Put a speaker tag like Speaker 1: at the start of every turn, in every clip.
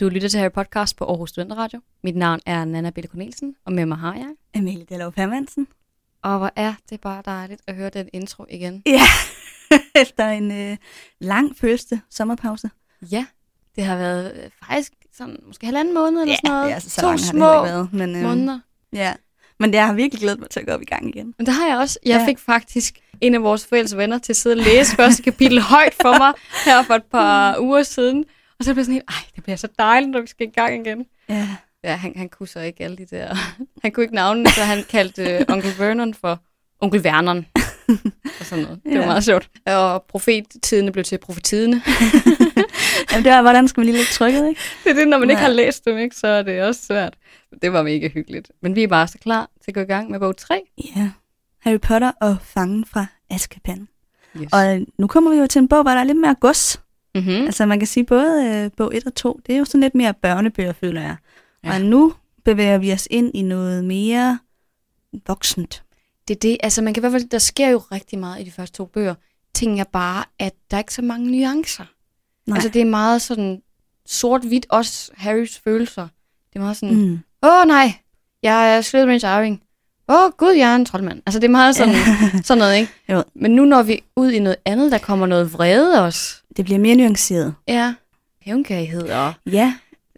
Speaker 1: Du lytter til Harry Podcast på Aarhus Studenteradio. Mit navn er Nana Bille Cornelsen, og med mig har jeg.
Speaker 2: Amalie Dallov Hermansen.
Speaker 1: Og hvor er det bare dejligt at høre den intro igen.
Speaker 2: Ja, efter en øh, lang første sommerpause.
Speaker 1: Ja, det har været øh, faktisk sådan, måske halvanden måned eller sådan noget.
Speaker 2: Ja, altså, så
Speaker 1: to
Speaker 2: lang har det
Speaker 1: små
Speaker 2: heller ikke været. Men, øh,
Speaker 1: måneder.
Speaker 2: ja. men jeg har virkelig glædet mig til at gå op i gang igen.
Speaker 1: Men det har jeg også. Jeg
Speaker 2: Ja.
Speaker 1: ja. fik faktisk en af vores fælles venner til at sidde og læse første kapitel højt for mig her for et par uger siden. Og så blev jeg sådan helt, ej, det bliver så dejligt, når vi skal i gang igen.
Speaker 2: Ja.
Speaker 1: Ja, han, han kunne så ikke alle de der... Han kunne ikke navnene, så han kaldte øh, onkel Vernon for onkel Vernon. Og sådan noget. Det var
Speaker 2: Ja.
Speaker 1: meget sjovt. Og profettidene blev til profetidene.
Speaker 2: Jamen, det var, hvordan skulle man lige lægge trykket, ikke?
Speaker 1: Det er det, når man ikke
Speaker 2: Ja.
Speaker 1: har læst dem, ikke, så er det også svært. Det var mega hyggeligt. Men vi er bare så klar til at gå i gang med bog 3.
Speaker 2: Ja. Harry Potter og fangen fra Azkaban.
Speaker 1: Yes.
Speaker 2: Og øh, nu kommer vi jo til en bog, hvor der er lidt mere gods. Mm.
Speaker 1: mm-hmm.
Speaker 2: Altså man kan sige både øh, bog 1 og 2, det er jo sådan lidt mere børnebøger, føler jeg. Ja.
Speaker 1: Ja.
Speaker 2: Og nu bevæger vi os ind i noget mere voksent.
Speaker 1: Det er det. Altså, man kan i hvert fald... Der sker jo rigtig meget i de første to bøger. Ting er bare, at der er ikke så mange nuancer.
Speaker 2: Nej.
Speaker 1: Altså, det er meget sådan sort-hvidt, også Harrys følelser. Det er meget sådan...
Speaker 2: mm.
Speaker 1: åh nej, jeg er Slytherins arving. Åh gud, jeg er en troldmand. Altså det er meget sådan, sådan noget, ikke?
Speaker 2: Jo.
Speaker 1: Men nu når vi ud i noget andet, der kommer noget vrede også.
Speaker 2: Det bliver mere nuanceret.
Speaker 1: Ja, hævnkærighed og...
Speaker 2: Ja,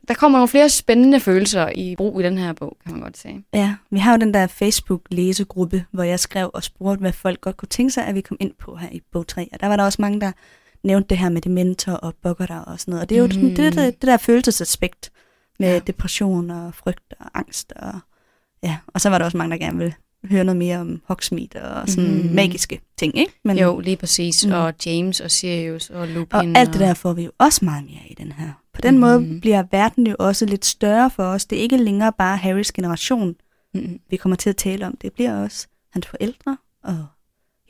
Speaker 1: Der kommer nogle flere spændende følelser i brug i den her bog, kan man godt sige.
Speaker 2: Ja, vi har jo den der Facebook-læsegruppe, hvor jeg skrev og spurgte, hvad folk godt kunne tænke sig, at vi kom ind på her i bog 3. Og der var der også mange, der nævnte det her med dementor og bokkerter og sådan noget. Og det er jo mm.
Speaker 1: Mm.
Speaker 2: det, det, det der følelsesaspekt med ja.
Speaker 1: Ja.
Speaker 2: depression og frygt og angst. Og, ja. og så var der også mange, der gerne ville høre noget mere om Hogsmeade og sådan mm.
Speaker 1: Mhm.
Speaker 2: magiske ting, ikke? Men,
Speaker 1: Jo, lige præcis.
Speaker 2: Mm.
Speaker 1: Mm. Og James og Sirius og
Speaker 2: og
Speaker 1: Lupin.
Speaker 2: alt det der får vi jo også meget mere i den her. På den mm. måde
Speaker 1: Mhm.
Speaker 2: bliver verden jo også lidt større for os. Det er ikke længere bare Harrys generation,
Speaker 1: Mm.
Speaker 2: vi kommer til at tale om, det bliver også hans forældre og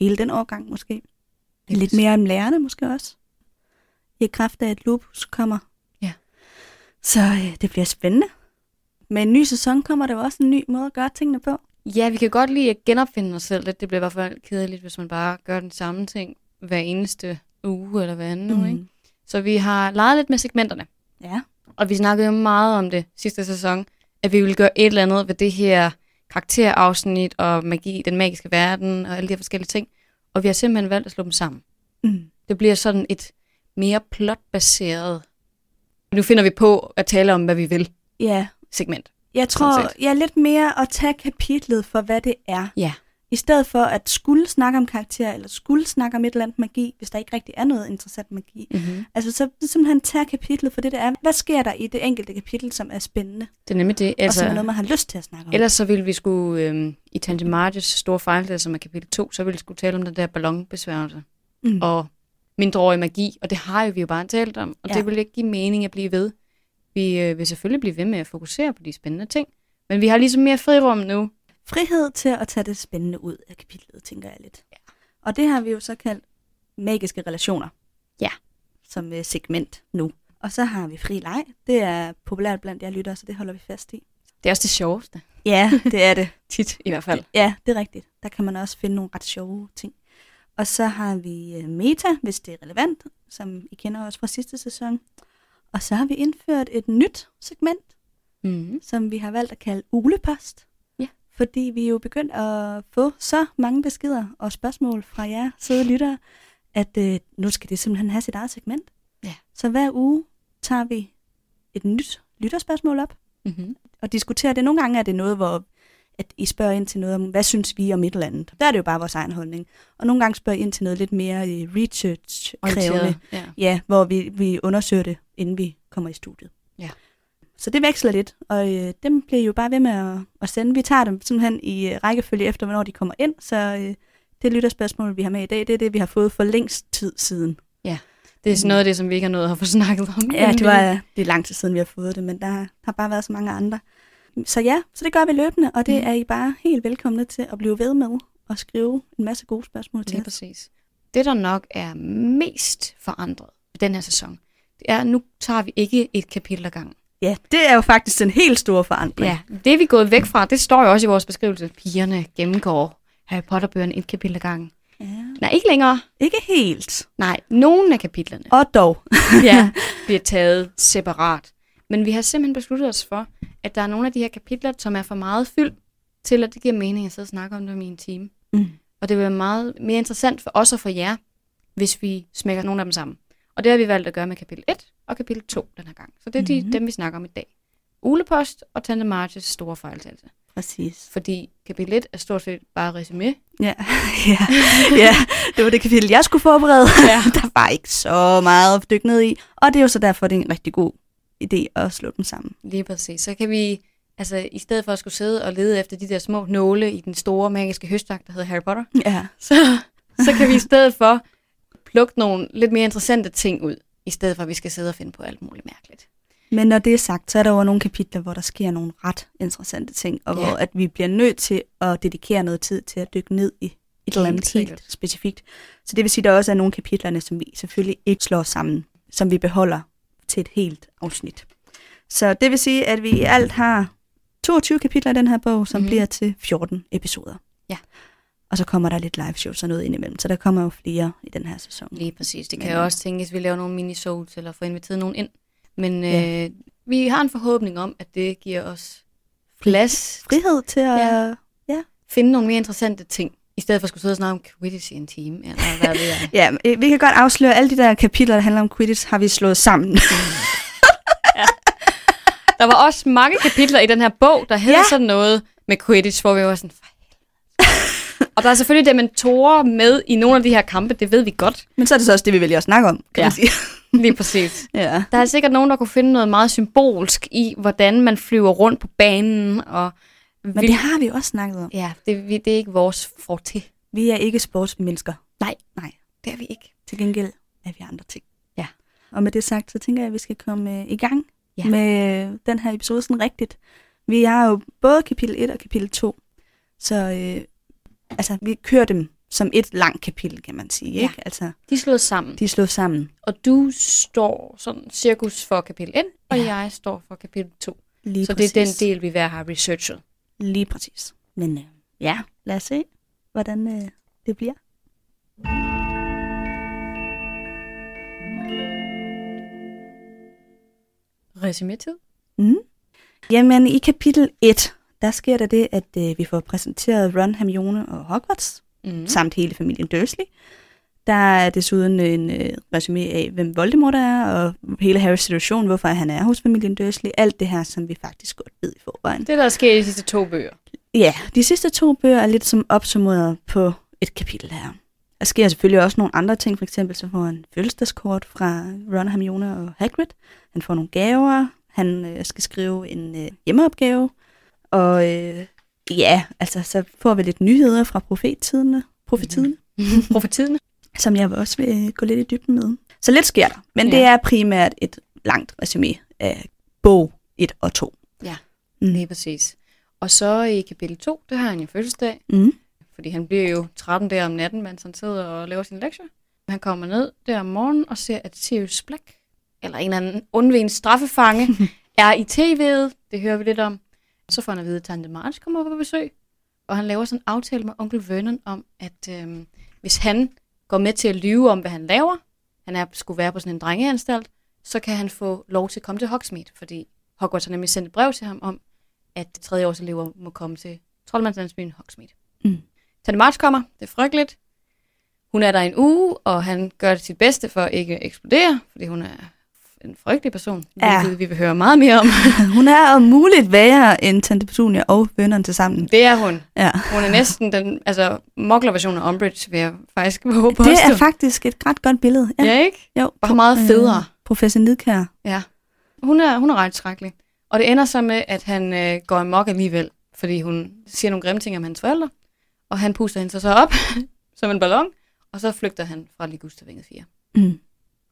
Speaker 2: hele den årgang måske.
Speaker 1: Det er
Speaker 2: Lidt
Speaker 1: præcis.
Speaker 2: mere om lærerne måske også. I kraft af, at lupus kommer.
Speaker 1: Ja.
Speaker 2: Så øh, det bliver spændende. Med en ny sæson kommer der jo også en ny måde at gøre tingene på.
Speaker 1: Ja, vi kan godt lide at genopfinde os selv lidt. Det bliver i hvert fald kedeligt, hvis man bare gør den samme ting hver eneste uge eller hver anden mm. uge, ikke? Så vi har leget lidt med segmenterne.
Speaker 2: Ja.
Speaker 1: Og vi snakkede jo meget om det sidste sæson, at vi ville gøre et eller andet ved det her karakterafsnit og magi, den magiske verden og alle de her forskellige ting. Og vi har simpelthen valgt at slå dem sammen.
Speaker 2: Mm.
Speaker 1: Det bliver sådan et mere plotbaseret... Nu finder vi på at tale om, hvad vi vil
Speaker 2: Ja,
Speaker 1: segment.
Speaker 2: jeg
Speaker 1: Sådan
Speaker 2: tror, jeg er lidt mere at tage kapitlet for, hvad det er.
Speaker 1: Ja.
Speaker 2: I stedet for at skulle snakke om karakterer, eller skulle snakke om et eller andet magi, hvis der ikke rigtig er noget interessant magi,
Speaker 1: Mm-hmm.
Speaker 2: Altså så simpelthen tage kapitlet for det, der er. Hvad sker der i det enkelte kapitel, som er spændende,
Speaker 1: Det er nemlig det.
Speaker 2: altså, og som er
Speaker 1: Altså,
Speaker 2: noget, man har lyst til at snakke om?
Speaker 1: ellers så ville vi skulle... Øhm, I Tante Marges store fejl, som er kapitel 2, så ville vi skulle tale om den der ballonbesværgelse.
Speaker 2: mm.
Speaker 1: og mindreårig magi, og det har jo vi jo bare talt om, og
Speaker 2: Ja.
Speaker 1: ja. det vil ikke give mening at blive ved. Vi øh, vil selvfølgelig blive ved med at fokusere på de spændende ting, men vi har ligesom mere frirum nu.
Speaker 2: Frihed til at tage det spændende ud af kapitlet, tænker jeg lidt. Ja. Og det har vi jo så kaldt magiske relationer.
Speaker 1: Ja.
Speaker 2: Som øh, segment nu. Og så har vi fri leg. Det er populært blandt jer lyttere, så det holder vi fast i.
Speaker 1: Det er også det sjoveste.
Speaker 2: Ja, det er det.
Speaker 1: Tit i hvert fald.
Speaker 2: Ja, det er rigtigt. Der kan man også finde nogle ret sjove ting. Og så har vi øh, meta, hvis det er relevant, som I kender også fra sidste sæson. Og så har vi indført et nyt segment,
Speaker 1: Mm-hmm.
Speaker 2: som vi har valgt at kalde ulepost.
Speaker 1: Ja.
Speaker 2: Fordi vi er jo begyndt at få så mange beskeder og spørgsmål fra jer søde lyttere, at øh, nu skal det simpelthen have sit eget segment.
Speaker 1: Ja.
Speaker 2: Så hver uge tager vi et nyt lytterspørgsmål op,
Speaker 1: Mm-hmm.
Speaker 2: og diskutere det. Nogle gange er det noget, hvor at I spørger ind til noget om, hvad synes vi om et eller andet. Der er det jo bare vores egen holdning. Og nogle gange spørger I ind til noget lidt mere øh, research-krævende.
Speaker 1: Ja.
Speaker 2: Ja, hvor vi, vi undersøger det, inden vi kommer i studiet.
Speaker 1: Ja.
Speaker 2: Så det veksler lidt, og øh, dem bliver I jo bare ved med at, at sende. Vi tager dem simpelthen i øh, rækkefølge efter, hvornår de kommer ind, så øh, det lytterspørgsmål, vi har med i dag, det er det, vi har fået for længst tid siden.
Speaker 1: Det er sådan noget af det, som vi ikke har nået at få snakket om.
Speaker 2: Mm. Ja, det var øh, det er lang tid siden, vi har fået det, men der har bare været så mange andre. Så ja, så det gør vi løbende, og det
Speaker 1: Mm.
Speaker 2: er I bare helt velkomne til at blive ved med og skrive en masse gode spørgsmål til
Speaker 1: Lige
Speaker 2: os.
Speaker 1: præcis. Det, der nok er mest forandret i den her sæson, det er, at nu tager vi ikke et kapitel ad gangen.
Speaker 2: Ja, det er jo faktisk den helt store forandring.
Speaker 1: Ja, det er vi gået væk fra. Det står jo også i vores beskrivelse. Pigerne gennemgår Harry Potter-bøgerne et kapitel ad gangen.
Speaker 2: ja.
Speaker 1: Nej, ikke længere.
Speaker 2: Ikke helt.
Speaker 1: Nej, nogle af kapitlerne
Speaker 2: Og dog.
Speaker 1: ja, bliver taget separat. Men vi har simpelthen besluttet os for, at der er nogle af de her kapitler, som er for meget fyldt, til at det giver mening at sidde og snakke om dem i en time.
Speaker 2: Mm.
Speaker 1: Og det vil være meget mere interessant for os og for jer, hvis vi smækker nogle af dem sammen. Og det har vi valgt at gøre med kapitel 1 og kapitel 2 den her gang. Så det er de,
Speaker 2: Mhm.
Speaker 1: dem, vi snakker om i dag. Ulepost og Tante Marches store fejltagelse.
Speaker 2: Præcis.
Speaker 1: Fordi kapitel 1 er stort set bare resume.
Speaker 2: Ja. ja. ja, det var det kapitel, jeg skulle forberede.
Speaker 1: Ja.
Speaker 2: der var ikke så meget at dykke ned i. Og det er jo så derfor, det er en rigtig god idé at slå dem sammen.
Speaker 1: Lige præcis. Så kan vi, altså i stedet for at skulle sidde og lede efter de der små nåle i den store magiske høstak, der hedder Harry Potter,
Speaker 2: Ja,
Speaker 1: så, så kan vi i stedet for plukke nogle lidt mere interessante ting ud, i stedet for at vi skal sidde og finde på alt muligt mærkeligt.
Speaker 2: Men når det er sagt, så er der jo nogle kapitler, hvor der sker nogle ret interessante ting, og
Speaker 1: Ja.
Speaker 2: ja. hvor at vi bliver nødt til at dedikere noget tid til at dykke ned i et eller andet
Speaker 1: sikkert.
Speaker 2: helt specifikt. Så det vil sige, at der også er nogle af kapitlerne, som vi selvfølgelig ikke slår sammen, som vi beholder til et helt afsnit. Så det vil sige, at vi i alt har 22 kapitler i den her bog, som
Speaker 1: Mhm.
Speaker 2: mm. bliver til 14 episoder.
Speaker 1: Ja.
Speaker 2: Og så kommer der lidt live shows og noget ind imellem, så der kommer jo flere i den her sæson.
Speaker 1: Lige præcis. Det kan
Speaker 2: Men-
Speaker 1: jo også tænkes, at vi laver nogle minisodes eller får inviteret nogen ind. Men
Speaker 2: Ja.
Speaker 1: øh, vi har en forhåbning om, at det giver os plads til
Speaker 2: Frihed til at...
Speaker 1: Ja.
Speaker 2: Ja.
Speaker 1: at finde nogle mere interessante ting, i stedet for at skulle sidde og snakke om Quidditch i en time, eller hvad ved jeg.
Speaker 2: Ja, men, øh, vi kan godt afsløre, at alle de der kapitler, der handler om Quidditch, har vi slået sammen.
Speaker 1: Der var også mange kapitler i den her bog, der hedder ja.
Speaker 2: Ja.
Speaker 1: sådan noget med Quidditch, hvor vi var sådan, for helvede. Og der er selvfølgelig det mentorer med i nogle af de her kampe, det ved vi godt.
Speaker 2: Men så er det så også det, vi vælger at snakke om,
Speaker 1: Ja.
Speaker 2: kan ja. man sige.
Speaker 1: Lige præcis.
Speaker 2: Ja.
Speaker 1: Der er sikkert nogen, der kunne finde noget meget symbolsk i, hvordan man flyver rundt på banen. Og
Speaker 2: Men det har vi jo også snakket om.
Speaker 1: Ja, det, vi, det er ikke vores forte.
Speaker 2: Vi er ikke sportsmennesker.
Speaker 1: Nej.
Speaker 2: Nej.
Speaker 1: Det er vi ikke.
Speaker 2: Til gengæld er vi andre ting.
Speaker 1: Ja.
Speaker 2: Og med det sagt, så tænker jeg, at vi skal komme øh, i gang
Speaker 1: Ja.
Speaker 2: ja. med øh, den her episode sådan rigtigt. Vi har jo både kapitel 1 og kapitel 2, så øh, altså, vi kører dem som et langt kapitel, kan man sige.
Speaker 1: Ja.
Speaker 2: Ikke? Altså,
Speaker 1: De er slået sammen.
Speaker 2: de er slået sammen.
Speaker 1: Og du står sådan cirkus for kapitel 1, og
Speaker 2: Ja.
Speaker 1: jeg står for kapitel 2.
Speaker 2: Lige
Speaker 1: Så det er den del, vi hver har researchet.
Speaker 2: del. Lige præcis. Men øh, ja, lad os se, hvordan øh, det bliver.
Speaker 1: Resumetid?
Speaker 2: Mm. Jamen, i kapitel 1, der sker der det, at øh, vi får præsenteret Ron, Hermione og Hogwarts,
Speaker 1: Mm.
Speaker 2: mm. samt hele familien Dursley. Der er desuden en øh, resume af, hvem Voldemort er, og hele Harrys situation, hvorfor han er hos familien Dursley. Alt det her, som vi faktisk godt ved i forvejen.
Speaker 1: Det, der sker i de sidste to bøger.
Speaker 2: Ja, de sidste to bøger er lidt som opsummeret på et kapitel her. Der sker selvfølgelig også nogle andre ting, for eksempel så får han fødselsdagskort fra Ron, Hermione og Hagrid. Han får nogle gaver, han øh, skal skrive en øh, hjemmeopgave, og øh, ja, altså så får vi lidt nyheder fra profettiderne, profetiden, mm-hmm.
Speaker 1: Profetiden.
Speaker 2: som jeg også vil øh, gå lidt i dybden med. Så lidt sker der, men ja. det
Speaker 1: Ja.
Speaker 2: er primært et langt resume af bog 1 og 2.
Speaker 1: Ja.
Speaker 2: Mm.
Speaker 1: Lige præcis. Og så i kapitel 2, der har han jo fødselsdag,
Speaker 2: Mm.
Speaker 1: fordi han bliver jo 13 der om natten, mens han sidder og laver sin lektier. Han kommer ned der om morgenen og ser, at Sirius Black, eller en eller anden undvigen straffefange, er i tv'et. Det hører vi lidt om. Så får han at vide, at Tante March kommer på besøg, og han laver sådan en aftale med onkel Vernon om, at øhm, hvis han går med til at lyve om, hvad han laver, han er, skulle være på sådan en drengeanstalt, så kan han få lov til at komme til Hogsmeade, fordi Hogwarts har nemlig sendt et brev til ham om, at tredjeårselever må komme til troldmandslandsbyen Hogsmeade.
Speaker 2: Mm.
Speaker 1: Tante March kommer, det er frygteligt. Hun er der en uge, og han gør sit bedste for ikke at eksplodere, fordi hun er en frygtelig person,
Speaker 2: Ja.
Speaker 1: hvilket vi vil høre meget mere om.
Speaker 2: Hun er om muligt værre end Tante Petunia og vennerne til sammen.
Speaker 1: Det er hun.
Speaker 2: Ja.
Speaker 1: Hun er næsten den, altså, moklerversion af Umbridge, vil jeg faktisk våge på
Speaker 2: Det er faktisk et ret godt billede.
Speaker 1: Ja, ja ikke?
Speaker 2: Jo,
Speaker 1: Bare meget federe.
Speaker 2: Øh, professor Nidkær.
Speaker 1: Ja. Hun er, hun er ret skrækkelig. Og det ender så med, at han øh, går amok alligevel, fordi hun siger nogle grimme ting om hans forældre, og han puster hende så, så op som en ballon, og så flygter han fra Ligustervinget 4.
Speaker 2: Mm.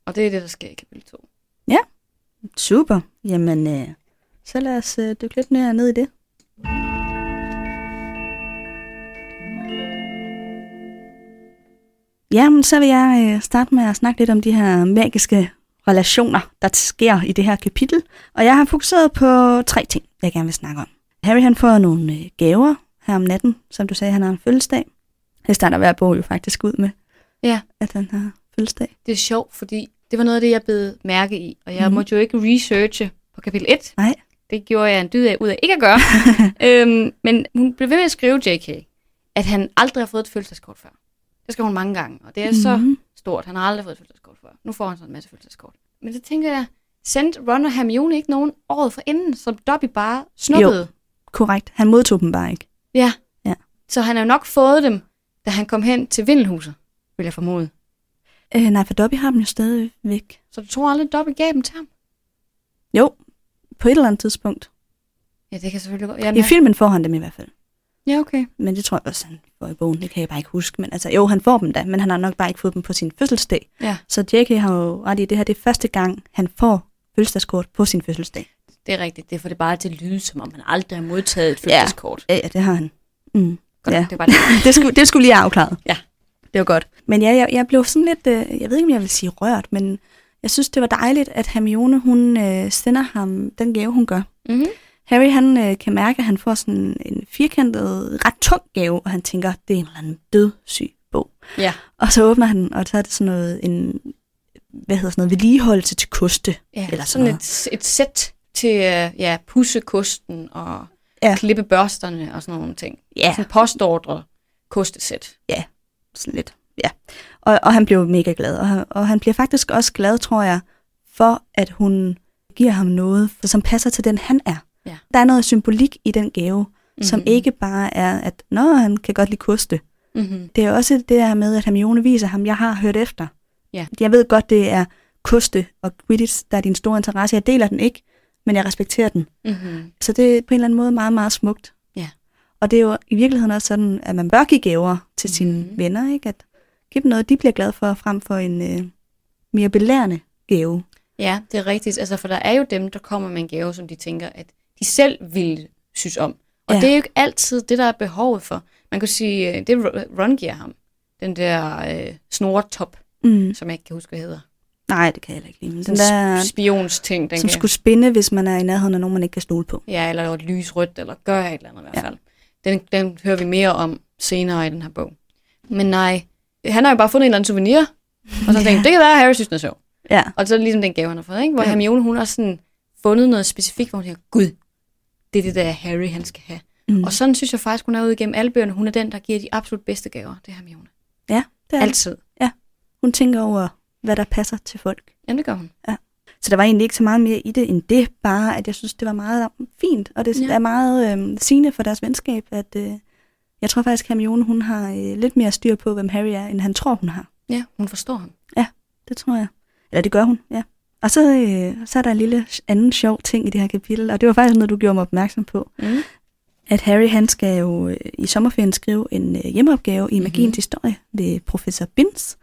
Speaker 1: Og det er det, der sker i kapitel 2.
Speaker 2: Super. Jamen, øh, så lad os øh, dykke lidt mere ned i det. Jamen, så vil jeg øh, starte med at snakke lidt om de her magiske relationer, der sker i det her kapitel. Og jeg har fokuseret på tre ting, jeg gerne vil snakke om. Harry han får nogle øh, gaver her om natten, som du sagde, han har en fødselsdag. Det starter hver bog jo faktisk ud med,
Speaker 1: Ja.
Speaker 2: at han har fødselsdag.
Speaker 1: Det er sjovt, fordi det var noget af det, jeg blev mærke i, og jeg mm.
Speaker 2: Mhm.
Speaker 1: måtte jo ikke researche på kapitel 1.
Speaker 2: Nej.
Speaker 1: Det gjorde jeg en dyd af, ud af ikke at gøre. øhm, men hun blev ved med at skrive J.K., at han aldrig har fået et fødselskort før. Det skal hun mange gange, og det er så
Speaker 2: Mhm.
Speaker 1: stort. Han har aldrig fået et fødselskort før. Nu får han sådan en masse fødselskort. Men så tænker jeg, sendte Ron og Hermione ikke nogen året for inden, som Dobby bare snuppede? Jo.
Speaker 2: Korrekt. Han modtog dem bare ikke.
Speaker 1: Ja.
Speaker 2: Ja.
Speaker 1: Så han har jo nok fået dem, da han kom hen til Vindelhuset, vil jeg formode.
Speaker 2: Øh, nej, for Dobby har dem jo stadig væk.
Speaker 1: Så du tror aldrig, Dobby gav dem til ham?
Speaker 2: Jo, på et eller andet tidspunkt.
Speaker 1: Ja, det kan selvfølgelig godt. Ja,
Speaker 2: I filmen får han dem i hvert fald.
Speaker 1: ja okay.
Speaker 2: Men det tror jeg også, han får i bogen. Det kan jeg bare ikke huske. Men altså, jo, han får dem da, men han har nok bare ikke fået dem på sin fødselsdag.
Speaker 1: Ja.
Speaker 2: Så J.K. har jo ret i, at det her det er første gang, han får fødselsdagskort på sin fødselsdag.
Speaker 1: Det er rigtigt. Det får det bare til at lyde, som om han aldrig har modtaget et fødselskort.
Speaker 2: Ja, ja det har han. Mm.
Speaker 1: Godt,
Speaker 2: Ja.
Speaker 1: det var bare det.
Speaker 2: Det, skulle, det skulle lige have afklaret.
Speaker 1: Ja.
Speaker 2: Det var godt. Men ja, jeg, jeg blev sådan lidt, øh, jeg ved ikke, om jeg vil sige rørt, men jeg synes, det var dejligt, at Hermione, hun øh, sender ham den gave, hun gør.
Speaker 1: Mm-hmm.
Speaker 2: Harry han øh, kan mærke, at han får sådan en firkantet, ret tung gave, og han tænker, det er en eller anden dødssyg bog.
Speaker 1: Ja.
Speaker 2: Og så åbner han den, og så er det sådan noget, en, hvad hedder sådan noget, vedligeholdelse til koste.
Speaker 1: Ja,
Speaker 2: Eller
Speaker 1: Eller
Speaker 2: sådan
Speaker 1: sådan et, et sæt til øh, ja, pussekosten og
Speaker 2: Ja.
Speaker 1: ja. klippe børsterne og sådan nogle ting.
Speaker 2: Ja,
Speaker 1: Sådan et postordre kostesæt.
Speaker 2: Altså, sådan lidt. Ja. Og, og han bliver mega glad, og, og han bliver faktisk også glad, tror jeg, for at hun giver ham noget, for, som passer til den, han er.
Speaker 1: Ja.
Speaker 2: Der er noget symbolik i den gave, mm-hmm. som
Speaker 1: Mhm.
Speaker 2: ikke bare er, at nå, han kan godt lide koste.
Speaker 1: Mm-hmm.
Speaker 2: Det er også det der med, at Hermione viser ham, jeg har hørt efter.
Speaker 1: Ja.
Speaker 2: Jeg ved godt, det er koste og Quidditch, der er din store interesse. Jeg deler den ikke, men jeg respekterer den.
Speaker 1: Mm-hmm.
Speaker 2: Så det er på en eller anden måde meget, meget smukt.
Speaker 1: Ja.
Speaker 2: Og det er jo i virkeligheden også sådan, at man bør give gaver til sine
Speaker 1: Mhm.
Speaker 2: venner. Ikke? At give dem noget, de bliver glade for, frem for en øh, mere belærende gave.
Speaker 1: Ja, det er rigtigt. Altså, for der er jo dem, der kommer med en gave, som de tænker, at de selv ville synes om. Og
Speaker 2: Ja.
Speaker 1: ja. det er jo ikke altid det, der er behovet for. Man kan sige, øh, det Ro- Ron giver ham. Den der øh, snortop,
Speaker 2: Mm.
Speaker 1: som jeg ikke kan huske, hvad hedder.
Speaker 2: Nej, det kan jeg heller ikke lide. men
Speaker 1: Den
Speaker 2: Den
Speaker 1: der
Speaker 2: der,
Speaker 1: spionsting, den
Speaker 2: som
Speaker 1: kan-
Speaker 2: skulle spinde, hvis man er i nærheden af nogen, man ikke kan stole på.
Speaker 1: Ja, eller et lysrødt, eller gør et eller andet i hvert
Speaker 2: Ja.
Speaker 1: fald. Den, den hører vi mere om senere i den her bog. Men nej, han har jo bare fundet en eller anden souvenir, og så
Speaker 2: Ja.
Speaker 1: tænkt, det kan være, at Harry synes, den er sjov.
Speaker 2: Ja.
Speaker 1: Og så er det ligesom den gave, han har fået, ikke? Hvor
Speaker 2: Ja.
Speaker 1: ja. Hermione, hun har sådan fundet noget specifikt, hvor hun tænker, gud, det er det der Harry, han skal have.
Speaker 2: Mm.
Speaker 1: Mm. Og sådan synes jeg faktisk, hun er ude igennem alle bøgerne. Hun er den, der giver de absolut bedste gaver, det er Hermione.
Speaker 2: ja, det er
Speaker 1: Altid.
Speaker 2: Hun tænker over, hvad der passer til folk.
Speaker 1: Jamen, det gør hun.
Speaker 2: Så der var egentlig ikke så meget mere i det end det, bare at jeg synes, det var meget øh, fint, og det ja.
Speaker 1: Ja.
Speaker 2: er meget øh, sigende for deres venskab, at øh, jeg tror faktisk, at Hermione hun har øh, lidt mere styr på, hvem Harry er, end han tror, hun har.
Speaker 1: Ja, hun forstår ham.
Speaker 2: Det tror jeg. Eller det gør hun, ja. Og så, øh, så er der en lille anden sjov ting i det her kapitel, og det var faktisk noget, du gjorde mig opmærksom på,
Speaker 1: Mm.
Speaker 2: at Harry han skal jo øh, i sommerferien skrive en øh, hjemmeopgave i magiens
Speaker 1: Mhm.
Speaker 2: historie ved professor Binds.